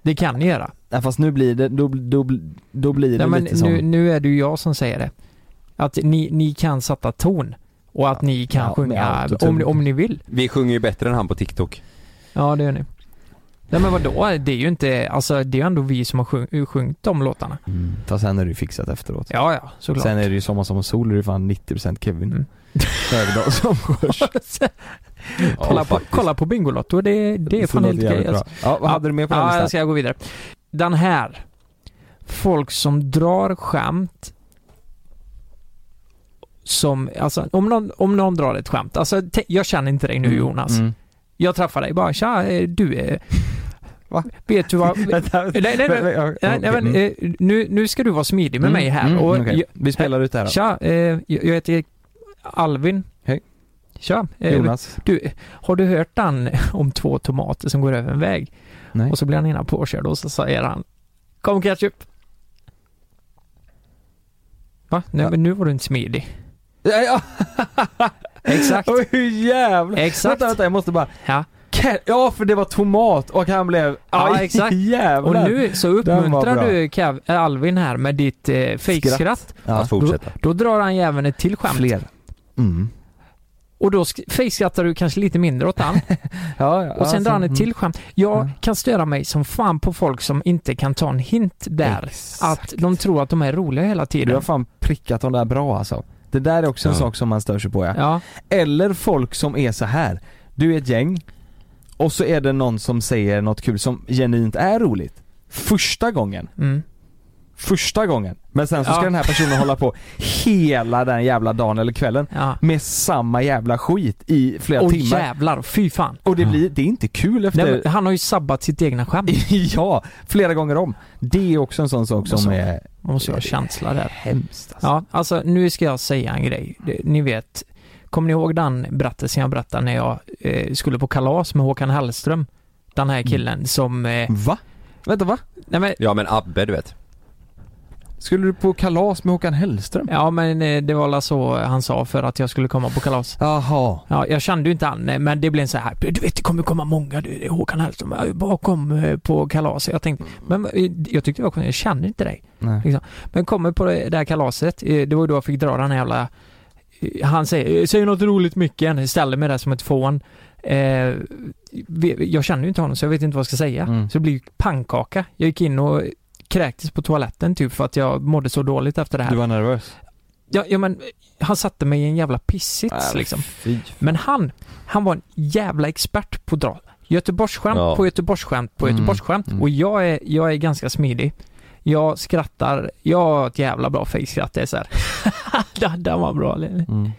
B: Det kan ni göra.
D: fast nu blir det, då, då, då blir det
B: Nej, men
D: lite som
B: nu, nu är det ju jag som säger det. Att ni, ni kan sätta ton och att ni kan
C: Ja, med
B: sjunga
C: autotune.
B: om, ni- om ni vill.
C: Vi sjunger ju bättre än han på TikTok.
B: Ja det gör ni. Nej men vadå, det är ju inte, alltså det är ju ändå vi som har sjung, sjungit de låtarna.
D: Fast sen är det ju fixat efteråt
B: Ja ja, såklart. Mm.
D: Sen är det ju Sommar som sol, det är ju fan 90% Kevin Högdahl som sjörs
B: kolla, på, kolla på Bingolotto, det, det är
D: Det
B: fan
D: låter
B: helt okej
D: jävligt
B: alltså.
D: bra. Ja, vad hade du mer på den
B: Ja,
D: listan?
B: jag ska gå vidare. Den här. Folk som drar skämt som, alltså om någon, om någon drar ett skämt, alltså te- jag känner inte dig nu Jonas.
D: mm.
B: Jag träffar dig bara, tja, eh, du är... Vet du vad... nej, nej, nej, nej, nej, men, eh, nu, nu ska du vara smidig med
D: Mm,
B: mig här.
D: mm,
B: och
D: okej.
B: jag-
D: Vi spelar ut det här då.
B: Tja, eh, jag- jag heter Alvin.
D: Hej.
B: Tja. eh,
D: Jonas.
B: Du, har du hört den om två tomater som går över en väg?
D: Nej.
B: Och så blir han ena påkörd och så säger han Kom ketchup. Va? Nej, men nu var du inte smidig.
D: Ja, ja.
B: Exakt.
D: Oj, hur jävlar.
B: Exakt.
D: Vänta, vänta, jag måste bara.
B: Ja.
D: Ke- Ja, för det var tomat och han blev...
B: Ja,
D: Aj,
B: exakt.
D: Jävlar.
B: Och nu så
D: Den var bra.
B: uppmuntrar du Kev, äh, Alvin här med ditt eh,
D: Skratt.
B: fejkskratt.
D: Ja. Att fortsätta.
B: Då, då drar han ju även ett till skämt.
D: Fler. Mm.
B: Och då sk- fejkskrattar du kanske lite mindre åt han.
D: Ja, ja,
B: Och sen
D: alltså,
B: drar han ett
D: mm.
B: till skämt. Jag kan störa mig som fan på folk som inte kan ta en hint där. Att de tror att de är roliga hela
D: Du har
B: tiden.
D: fan prickat de där bra alltså. Det där är också en
B: Ja.
D: sak som man stör sig på ja.
B: Ja.
D: Eller folk som är så här. Du är ett gäng och så är det någon som säger något kul som genuint är roligt. Första gången.
B: Mm.
D: Första gången. Men sen så ska
B: Ja.
D: den här personen hålla på hela den jävla dagen eller kvällen med samma jävla skit i flera
B: Och
D: timmar.
B: jävlar, fy fan.
D: Och det blir, det är inte kul efter...
B: Nej, men han har ju sabbat sitt egna skämt.
D: ja, flera gånger om. Det är också en sån sak som
B: Måste-
D: är...
B: Man måste ju ha känsla där.
D: Hemskt
B: alltså. Ja, alltså nu ska jag säga en grej. Det- Ni vet, kommer ni ihåg den berättelsen jag berättade när jag eh, skulle på kalas med Håkan Hellström? Den här killen som... Eh,
D: va? Vänta va?
B: Nej men,
C: Ja men Abbe du vet.
D: Skulle du på kalas med Håkan Hellström?
B: ja men eh, det var alla så han sa för att jag skulle komma på kalas.
D: Jaha.
B: Ja, jag kände ju inte han, eh, men det blev en så här, du vet det kommer komma många, du, det är Håkan Hellström eh, bakom eh, på kalas. Jag tänkte, men eh, jag tyckte det var konstigt, jag känner inte dig.
D: Nej.
B: Liksom. Men kommer på det det här kalaset, eh, det var då jag fick dra den här jävla eh, han säger, eh, säg något roligt Micken, ställer mig där som ett fån. Eh, vi- jag känner ju inte honom så jag vet inte vad jag ska säga.
D: Mm.
B: Så det blir ju pannkaka. Jag gick in och kräktes på toaletten typ för att jag mådde så dåligt efter det här.
D: Du var nervös?
B: Ja, ja men han satte mig i en jävla pissits
D: Äh,
B: liksom.
D: fy.
B: Men han, han var en jävla expert på att dra Göteborgsskämt
D: Ja.
B: på Göteborgsskämt på
D: Mm,
B: Göteborgsskämt. Och jag är, jag är ganska smidig. Jag skrattar, jag har ett jävla bra fejkskratt. Det är så här. Den- Den var bra. Lenny.
D: Mm.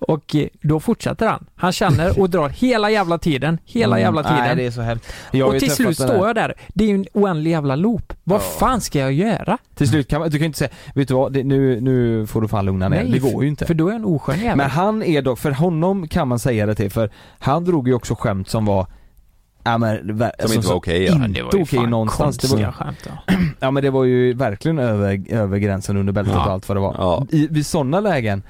B: Och eh, då fortsätter han. Han känner och drar hela jävla tiden, hela
D: Mm,
B: jävla tiden.
D: Nej det är så hemskt. Jag har
B: och
D: ju
B: till
D: träffat
B: slut
D: den
B: står
D: här-
B: jag där. Det är ju en oändlig jävla loop. Vad fan ska jag göra?
D: Till slut kan man, du kan ju inte säga, vet du vad, det, nu, nu får du fan lugna ner dig. det
B: Nej,
D: går ju inte.
B: För då är jag en oskön jävel.
D: Men han är dock, för honom kan man säga det till, för han drog ju också skämt som var Ja, men, alltså ver-
B: Alltså,
C: Som inte var okej, ja.
D: Inte
C: Det var ju
D: okej
C: fan
D: någonstans. Det var,
C: konstiga skämt,
D: ja men det var ju verkligen över, över gränsen under bältet
C: Ja.
D: och allt vad det var. I, vid sådana lägen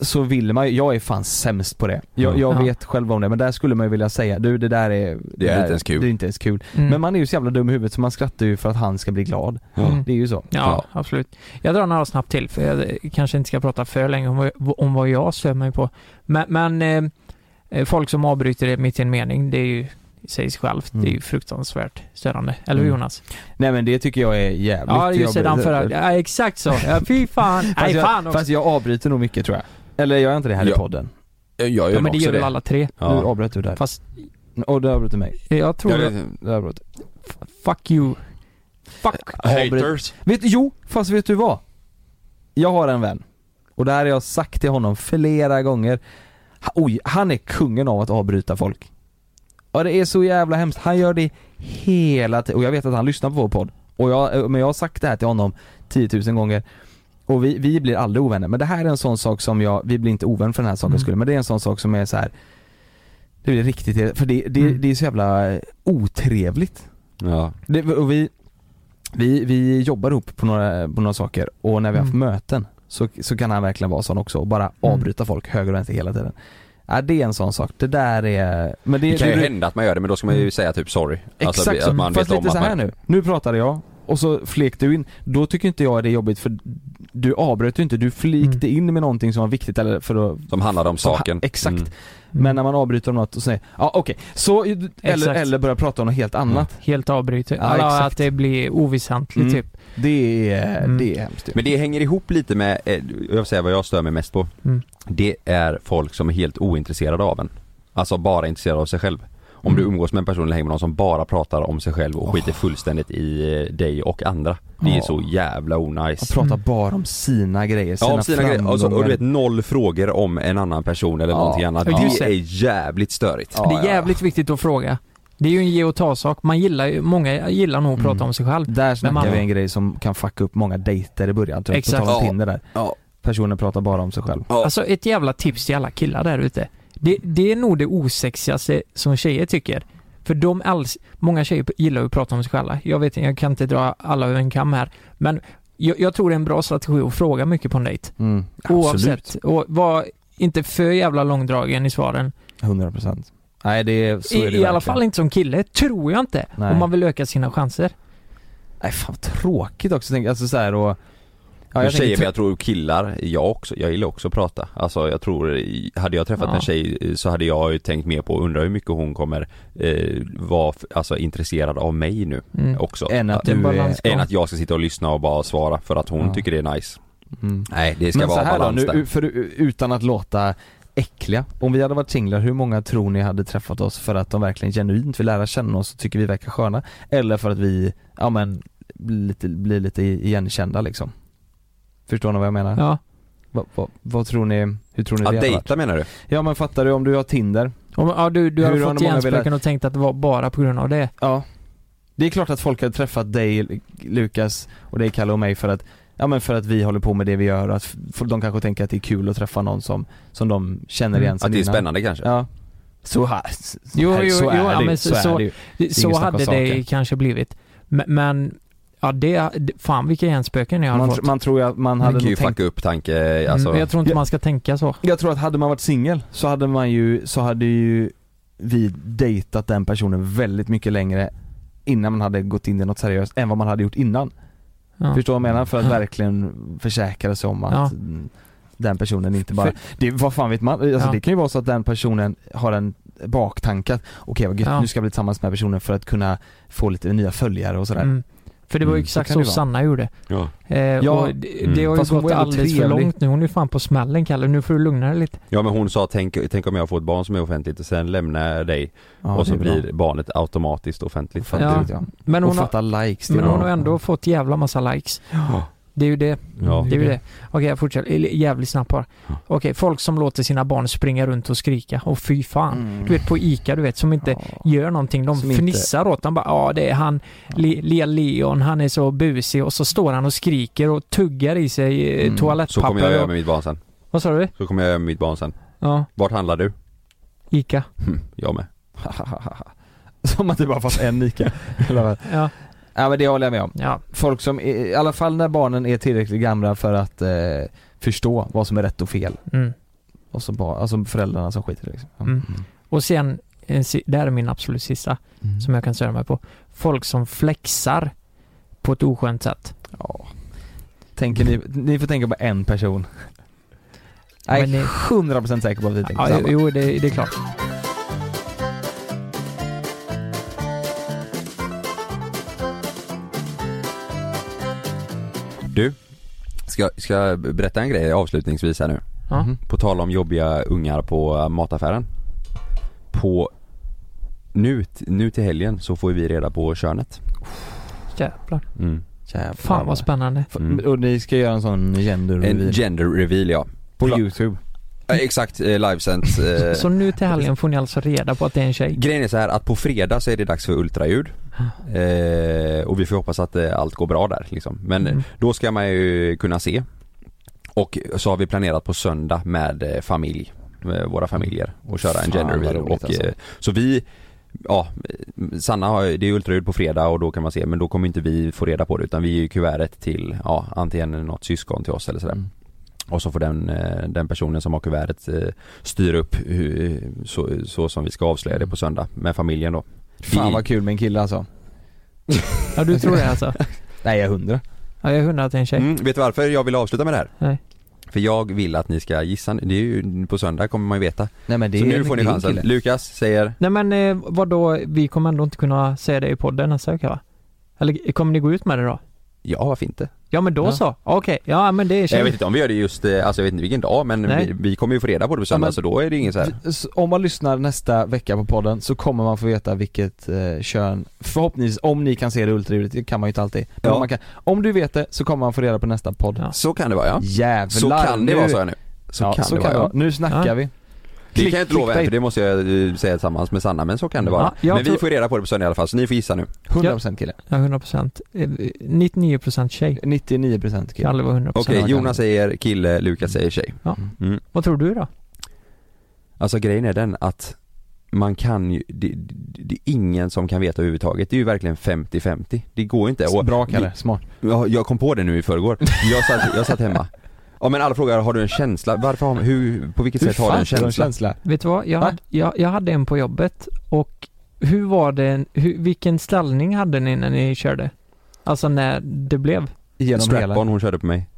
D: så vill man ju, jag är fan sämst på det. Jag, jag
C: Ja.
D: vet själv om det men där skulle man ju vilja säga du det där är
C: Det är
D: där-
C: inte ens kul.
D: Det är inte ens kul.
B: Mm.
D: Men man är ju så jävla dum i huvudet så man skrattar ju för att han ska bli glad.
B: Mm.
D: Det är ju så.
B: Ja, absolut. Jag drar några snabbt till för jag kanske inte ska prata för länge om, vad- om vad jag stör mig på. Men, men eh, eh, folk som avbryter det mitt i en mening, det är ju i sig självt, det är ju fruktansvärt störande. Eller hur
D: Mm.
B: Jonas?
D: Nej men det tycker jag är jävligt
B: Ja, just det, den förra. Ja, exakt så. Ja, fy fan.
D: Fast,
B: Nej, fan
D: jag,
B: också.
D: fast jag avbryter nog mycket tror jag. Eller gör jag inte det här i
B: Ja.
D: podden?
C: Jag gör
B: Ja, men det gör väl alla tre?
D: Nu avbröt du där.
B: Fast...
D: Och du avbröt du mig.
B: Jag tror...
D: Ja, det- Du avbröt.
B: Fuck you. Fuck.
C: Eh,
D: Avbryt. Vet, jo, fast vet du vad? Jag har en vän. Och det här har jag sagt till honom flera gånger. Ha- Oj, han är kungen av att avbryta folk. Ja det är så jävla hemskt. Han gör det hela tiden. Och jag vet att han lyssnar på vår podd. Och jag, eh, men jag har sagt det här till honom 10 000 gånger. Och vi, vi blir aldrig ovänner. Men det här är en sån sak som jag, vi blir inte ovänner för den här sakens skull. Men det är en sån sak som är så här. Det blir riktigt, för det, det, det är så jävla eh, otrevligt.
C: Ja.
D: Det, och vi, vi, vi jobbar ihop på några, på några saker och när vi har haft möten så, så kan han verkligen vara sån också och bara
C: Mm.
D: avbryta folk höger och vänster hela tiden. Ja, det är en sån sak. Det där är... Men
C: Det,
D: det,
C: kan ju
D: det- Mm.
C: hända att man gör det men då ska man ju säga typ sorry. Alltså,
D: Exakt så,
C: att man
D: fast
C: vet
D: lite
C: om
D: så
C: att
D: här
C: man...
D: nu. Nu pratade jag och så flek du in. Då tycker inte jag det är jobbigt för du avbröt ju inte, du flikte in med någonting som var viktigt eller för att...
C: Som handlade Mm. om saken. Mm.
D: exakt. Men när man avbryter om något och säger ja okej, så eller,
B: Exakt.
D: eller börjar prata om något helt annat.
B: Helt avbryter.
D: Ja,
B: Eller
D: exakt.
B: att det blir oväsentligt
C: Mm.
B: typ.
D: Det är,
B: Mm.
D: det är hemskt ju.
C: Men det hänger ihop lite med, eh, jag vill säga vad jag stör mig mest på.
B: Mm.
C: Det är folk som är helt ointresserade av en. Alltså bara intresserade av sig själv. Om
D: Mm.
C: du umgås med en person eller hänger med någon som bara pratar om sig själv och skiter fullständigt i eh, dig och andra. Det är
D: Ja.
C: så jävla onajs.
D: Och prata bara om sina grejer, sina,
C: Ja, om sina grejer. Alltså, och du
D: framgångar.
C: vet noll frågor om en annan person eller
D: Ja.
C: någonting annat.
B: Ja, just
C: Det
B: det.
C: är jävligt störigt.
B: det är jävligt viktigt att fråga. Det är ju en ge och ta-sak. Man gillar ju, många gillar nog att prata om sig själv.
D: Där snackar
B: man,
D: vi en grej som kan fucka upp många dejter i början, typ,
B: Exakt.
D: på tal om
B: Ja.
D: Tinder där. Personen pratar bara om sig själv.
B: Alltså ett jävla tips till alla killar där ute. Det, det är nog det osexigaste som tjejer tycker. För de alls, många tjejer gillar ju att prata om sig själva. Jag vet inte, jag kan inte dra alla över en kam här. Men jag, jag tror det är en bra strategi att fråga mycket på en dejt.
D: Mm,
B: Oavsett. Och var inte för jävla långdragen i svaren.
D: 100%. Nej det är, så är
B: I, I
D: det verkligen.
B: alla fall inte som kille, tror jag inte.
D: Nej.
B: Om man vill öka sina chanser.
D: Nej fan vad tråkigt också, tänk, alltså så här och...
C: Ja,
D: jag
C: jag tjejer,
D: tänker- typ
C: men jag tror killar, jag också, jag gillar också att prata. Alltså jag tror, hade jag träffat
D: Ja.
C: en tjej eh, så hade jag ju tänkt mer på, undrar hur mycket hon kommer eh, vara f- alltså, intresserad av mig nu
D: Mm.
C: också.
D: Än att
C: Ja.
D: du är-
C: än att jag ska sitta och lyssna och bara svara för att hon
D: Ja.
C: tycker det är nice.
D: Mm.
C: Nej, det ska
D: Men så
C: vara
D: här
C: balans
D: då,
C: där.
D: nu, för, utan att låta äckliga. Om vi hade varit singlar, hur många tror ni hade träffat oss för att de verkligen genuint vill lära känna oss och tycker vi verkar sköna? Eller för att vi, ja men, blir lite, blir lite igenkända liksom? Förstår ni vad jag menar?
B: Ja.
D: Va, va, vad tror ni, hur tror ni
C: Att
D: det hade
C: dejta menar du?
D: Ja men fattar du om du har Tinder?
B: Om, ja, du, du
D: Hur
B: har
D: har
B: fått
D: många
B: hjärnspöken
D: velat-
B: och tänkt att det var bara på grund av det.
D: Ja. Det är klart att folk har träffat dig Lukas och dig Kalle och mig för att Ja men för att vi håller på med det vi gör och att f- för de kanske tänker att det är kul att träffa någon som, som de känner igen
C: Mm.
D: sen
C: Att det är
D: innan.
C: spännande kanske?
D: Ja Så här, s-
B: Jo,
D: här-
B: jo,
D: så
B: jo,
D: är det
B: ja,
D: ju,
B: men
D: så,
B: så,
D: är det ju.
B: så,
D: Det är
B: så
D: ingen
B: hade
D: snack om
B: det
D: saken.
B: kanske blivit. Men, men ja det, fan vilka hjärnspöken jag har
D: man,
B: fått.
D: tr- man tror ju att man
C: Man
D: hade
C: kan ju
D: nog tänkt
C: fucka upp tanke, alltså.
B: Mm, jag tror inte
D: Ja.
B: man ska tänka så.
D: Jag tror att hade man varit singel så hade man ju, så hade ju vi dejtat den personen väldigt mycket längre innan man hade gått in i något seriöst än vad man hade gjort innan.
B: Ja.
D: Förstår du vad jag menar? För att
B: Ja.
D: verkligen försäkra sig om att
B: Ja.
D: mm, den personen inte bara,
B: För-
D: det, vad fan vet man? Alltså
B: Ja.
D: det kan ju vara så att den personen har en baktanke att okej vad gött,
B: Ja.
D: nu ska jag bli tillsammans med den här personen för att kunna få lite nya följare och sådär.
B: Mm. För det var ju exakt
D: kan
B: så,
D: det vara.
B: Sanna gjorde.
C: Ja.
B: Eh,
D: Ja.
B: och det,
C: Mm.
B: det har ju
D: Fast hon var
B: gått
D: ändå
B: alldeles för
D: trevlig.
B: långt nu. Hon är ju fan på smällen Kalle. Nu får du lugna dig lite.
C: Ja men hon sa tänk, tänk om jag får ett barn som är offentligt och sen lämnar jag dig
D: Ja,
C: och så
D: det är bra.
C: blir barnet automatiskt offentligt för att
B: Ja.
C: du...
B: Men
D: och
B: hon har,
D: fatta likes, det är
B: men
D: bra.
B: hon har ändå fått jävla massa likes.
C: Ja.
B: Det är ju det.
C: Ja.
B: Det är ju det. Okej, jag fortsätter. Eller, Jävligt snabbt bara. Okej, folk som låter sina barn springa runt och skrika. Och fy fan.
D: Mm.
C: Mm.
B: Du vet på ICA, du vet, som inte gör någonting. De
D: Som inte-
B: fnissar åt dem. Bara, ja, det är han, Le- Le- Leon, han är så busig. Och så står han och skriker och tuggar i sig mm.
C: Så
B: toalettpapper.
C: kommer jag göra
B: och,
C: med mitt barn sen.
B: vad sa du?
C: Så kommer jag göra med mitt barn sen.
B: Ja,
C: Hm, Vart handlar du?
B: ICA.
C: Jag med.
D: Som att det bara fanns en Ica. Eller-
B: Ja.
D: ja men det håller jag med om.
B: Ja.
D: Folk som, är, i alla fall när barnen är tillräckligt gamla för att eh, förstå vad som är rätt och fel.
B: Mm.
D: Och så bara, alltså föräldrarna som skiter i det, liksom. Ja.
B: Mm. Och sen, en si- det här är min absolut sista,
C: Mm.
B: som jag kan störa mig på. Folk som flexar på ett oskönt sätt.
D: Ja. Tänker ni, ni får tänka på en person. Jag är
B: Men det-
D: 100% säker på att vi tänker
B: Ja,
D: samma.
B: jo, det, det är klart.
C: Du, ska, ska jag berätta en grej avslutningsvis här nu?
B: Ja.
D: Mm.
C: På tal om jobbiga ungar på äh, mataffären. På nu, t- nu till helgen så får vi reda på könet.
B: Jävlar.
C: Mm.
B: Fan vad spännande.
C: Mm.
D: Och ni ska göra en sån gender
C: En
D: reveal.
C: gender reveal ja.
D: På youtube?
C: Exakt, eh, livesänt. eh.
B: Så nu till helgen får ni alltså reda på att det är en tjej?
C: Grejen är så här att på fredag så är det dags för ultraljud.
D: Ah.
C: Eh, och vi får hoppas att eh, allt går bra där liksom. Men
B: Mm.
C: då ska man ju kunna se. Och så har vi planerat på söndag med eh, familj, med våra familjer och köra en
D: Fan,
C: gender
D: vad
C: reveal.
D: roligt
C: Och,
D: alltså.
C: eh, Så vi, ja, eh, Sanna har ju- det är ultraljud på fredag och då kan man se men då kommer inte vi få reda på det utan vi ger ju kuvertet till, ja, antingen något syskon till oss eller sådär. Och så får den, eh, den personen som har kuvertet eh, styra upp hur, så, så som vi ska avslöja det på söndag med familjen då.
D: Fan
C: I-
D: vad kul med en kille alltså.
B: Ja, du tror det alltså?
D: Nej jag är hundra.
B: Ja, jag undrar att det är en tjej.
C: Mm, vet du varför jag vill avsluta med det här?
B: Nej.
C: För jag vill att ni ska gissa, nu. det är ju, på söndag kommer man ju veta.
D: Nej, men det
C: så
D: är-
C: nu får ni
D: det är en
C: chansen.
D: kille.
C: Lukas säger
B: Nej men eh, vadå, vi kommer ändå inte kunna säga det i podden nästa vecka va? Eller kommer ni gå ut med det då?
C: Ja, varför inte?
B: Ja men då
C: Ja.
B: så, okej, ja men det är
C: Jag vet
B: tjej.
C: inte om vi gör det just, eh, alltså jag vet inte vilken dag men
B: Nej.
C: vi, vi kommer ju få reda på det på söndag
D: Ja, men-
C: så då är det ingen så här.
D: Så Om man lyssnar nästa vecka på podden så kommer man få veta vilket eh, kön, förhoppningsvis, om ni kan se det ultraljudet, det kan man ju inte alltid. Men
C: Ja.
D: om, man kan, om du vet det så kommer man få reda på nästa podd.
C: Så kan det vara ja.
D: Jävlar
C: Så kan det vara sa jag nu. Så
D: ja,
C: kan
D: så
C: det
D: kan
C: vara
D: det
C: ja.
D: vara. Nu snackar
C: Ja.
D: vi.
C: Det
D: Klick-
C: kan jag inte lova än
D: clickbait.
C: för det måste jag eh, säga tillsammans med Sanna men så kan det vara.
B: Ja, jag
C: men vi
B: tror-
C: får reda på det på söndag i alla fall så ni får gissa nu.
D: 100% kille.
B: Ja, 100%. Eh, 99% tjej.
D: 99%
B: Kan aldrig vara 100%.
C: Okej, Jonas säger kille, Lukas säger tjej.
B: Ja.
C: Mm.
B: Vad tror du då?
C: Alltså grejen är den att man kan ju, det, det, det är ingen som kan veta överhuvudtaget. Det är ju verkligen 50-50. Det går inte. Och
D: Mm. Bra Kalle,
C: det-
D: smart.
C: Jag, jag kom på det nu i förgår. Jag satt, jag satt hemma. Ja men alla frågar, har du en känsla? Varför har, hur, på vilket
D: Hur
C: sätt har du
D: fan
C: en
D: får du
C: känsla?
D: en känsla?
B: Vet du vad, jag, hade, jag, jag hade en på jobbet och hur var det, hur, vilken ställning hade ni när ni körde? Alltså när det blev?
D: Genom hela.
C: Strap-on hon körde på mig.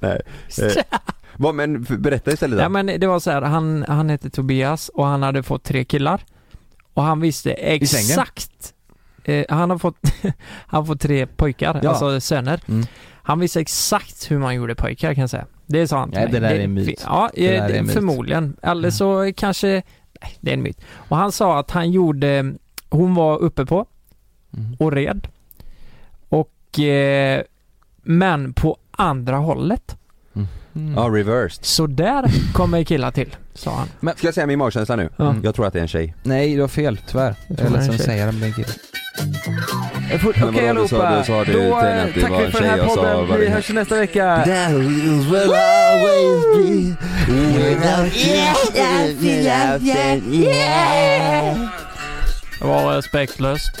C: Nej. Eh, vad, men f- berätta istället
B: Ja
C: där.
B: men det var så här, han, han hette Tobias och han hade fått tre killar. Och han visste
D: sängen?
B: exakt. Eh, han har fått, han har fått tre pojkar,
D: Ja. Mm.
B: alltså söner. Han visste exakt hur man gjorde pojkar kan jag säga. Det sa han till
D: Nej,
B: mig.
D: det där är en myt.
B: Ja,
D: Det där
B: eh,
D: är en myt. Mm.
B: förmodligen. Eller så kanske, nej, det är en myt. Och han sa att han gjorde, hon var uppe på
D: Mm.
B: och red. Och, eh, men på andra hållet.
D: Mm.
C: Ja, reversed.
B: Så där kommer killar till, sa han.
C: Ska jag säga min magkänsla nu?
B: Ja.
C: Jag tror att det är en tjej.
D: Nej, du har fel tyvärr. Jag
C: tror
D: är
C: det är en
D: ledsen att
C: tjej.
D: säga det men det är en kille.
C: Men vadå,
D: Eh, Okej
C: du sa-
D: allihopa,
C: du sa det
D: då
C: till
D: eh,
C: henne att det var
D: tackar vi
C: en
D: för
C: tjej
D: den här
C: och så var
D: podden.
C: det
D: Vi
C: en-
D: hörs nästa vecka. Mm.
B: Det var eh, respektlöst.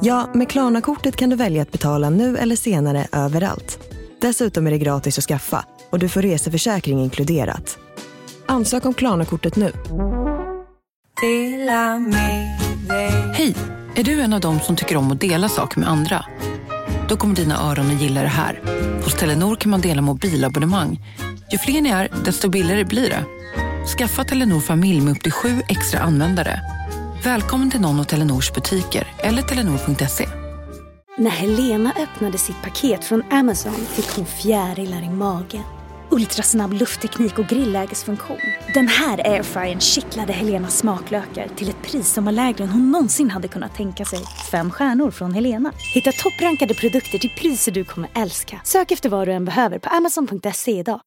A: Ja, med Klarna-kortet kan du välja att betala nu eller senare överallt. Dessutom är det gratis att skaffa och du får reseförsäkring inkluderat. Ansök om Klarna-kortet nu.
K: Hej! Är du en av dem som tycker om att dela saker med andra? Då kommer dina öron att gilla det här. Hos Telenor kan man dela mobilabonnemang. Ju fler ni är, desto billigare blir det. Skaffa Telenor familj med upp till sju extra användare. Välkommen till någon av Telenors butiker eller telenor.se.
L: När Helena öppnade sitt paket från Amazon fick hon fjärilar i magen. Ultrasnabb luftteknik och grillägesfunktion. Den här airfryern kittlade Helenas smaklökar till ett pris som var lägre än hon någonsin hade kunnat tänka sig. Fem stjärnor från Helena. Hitta topprankade produkter till priser du kommer älska. Sök efter vad du än behöver på amazon.se idag.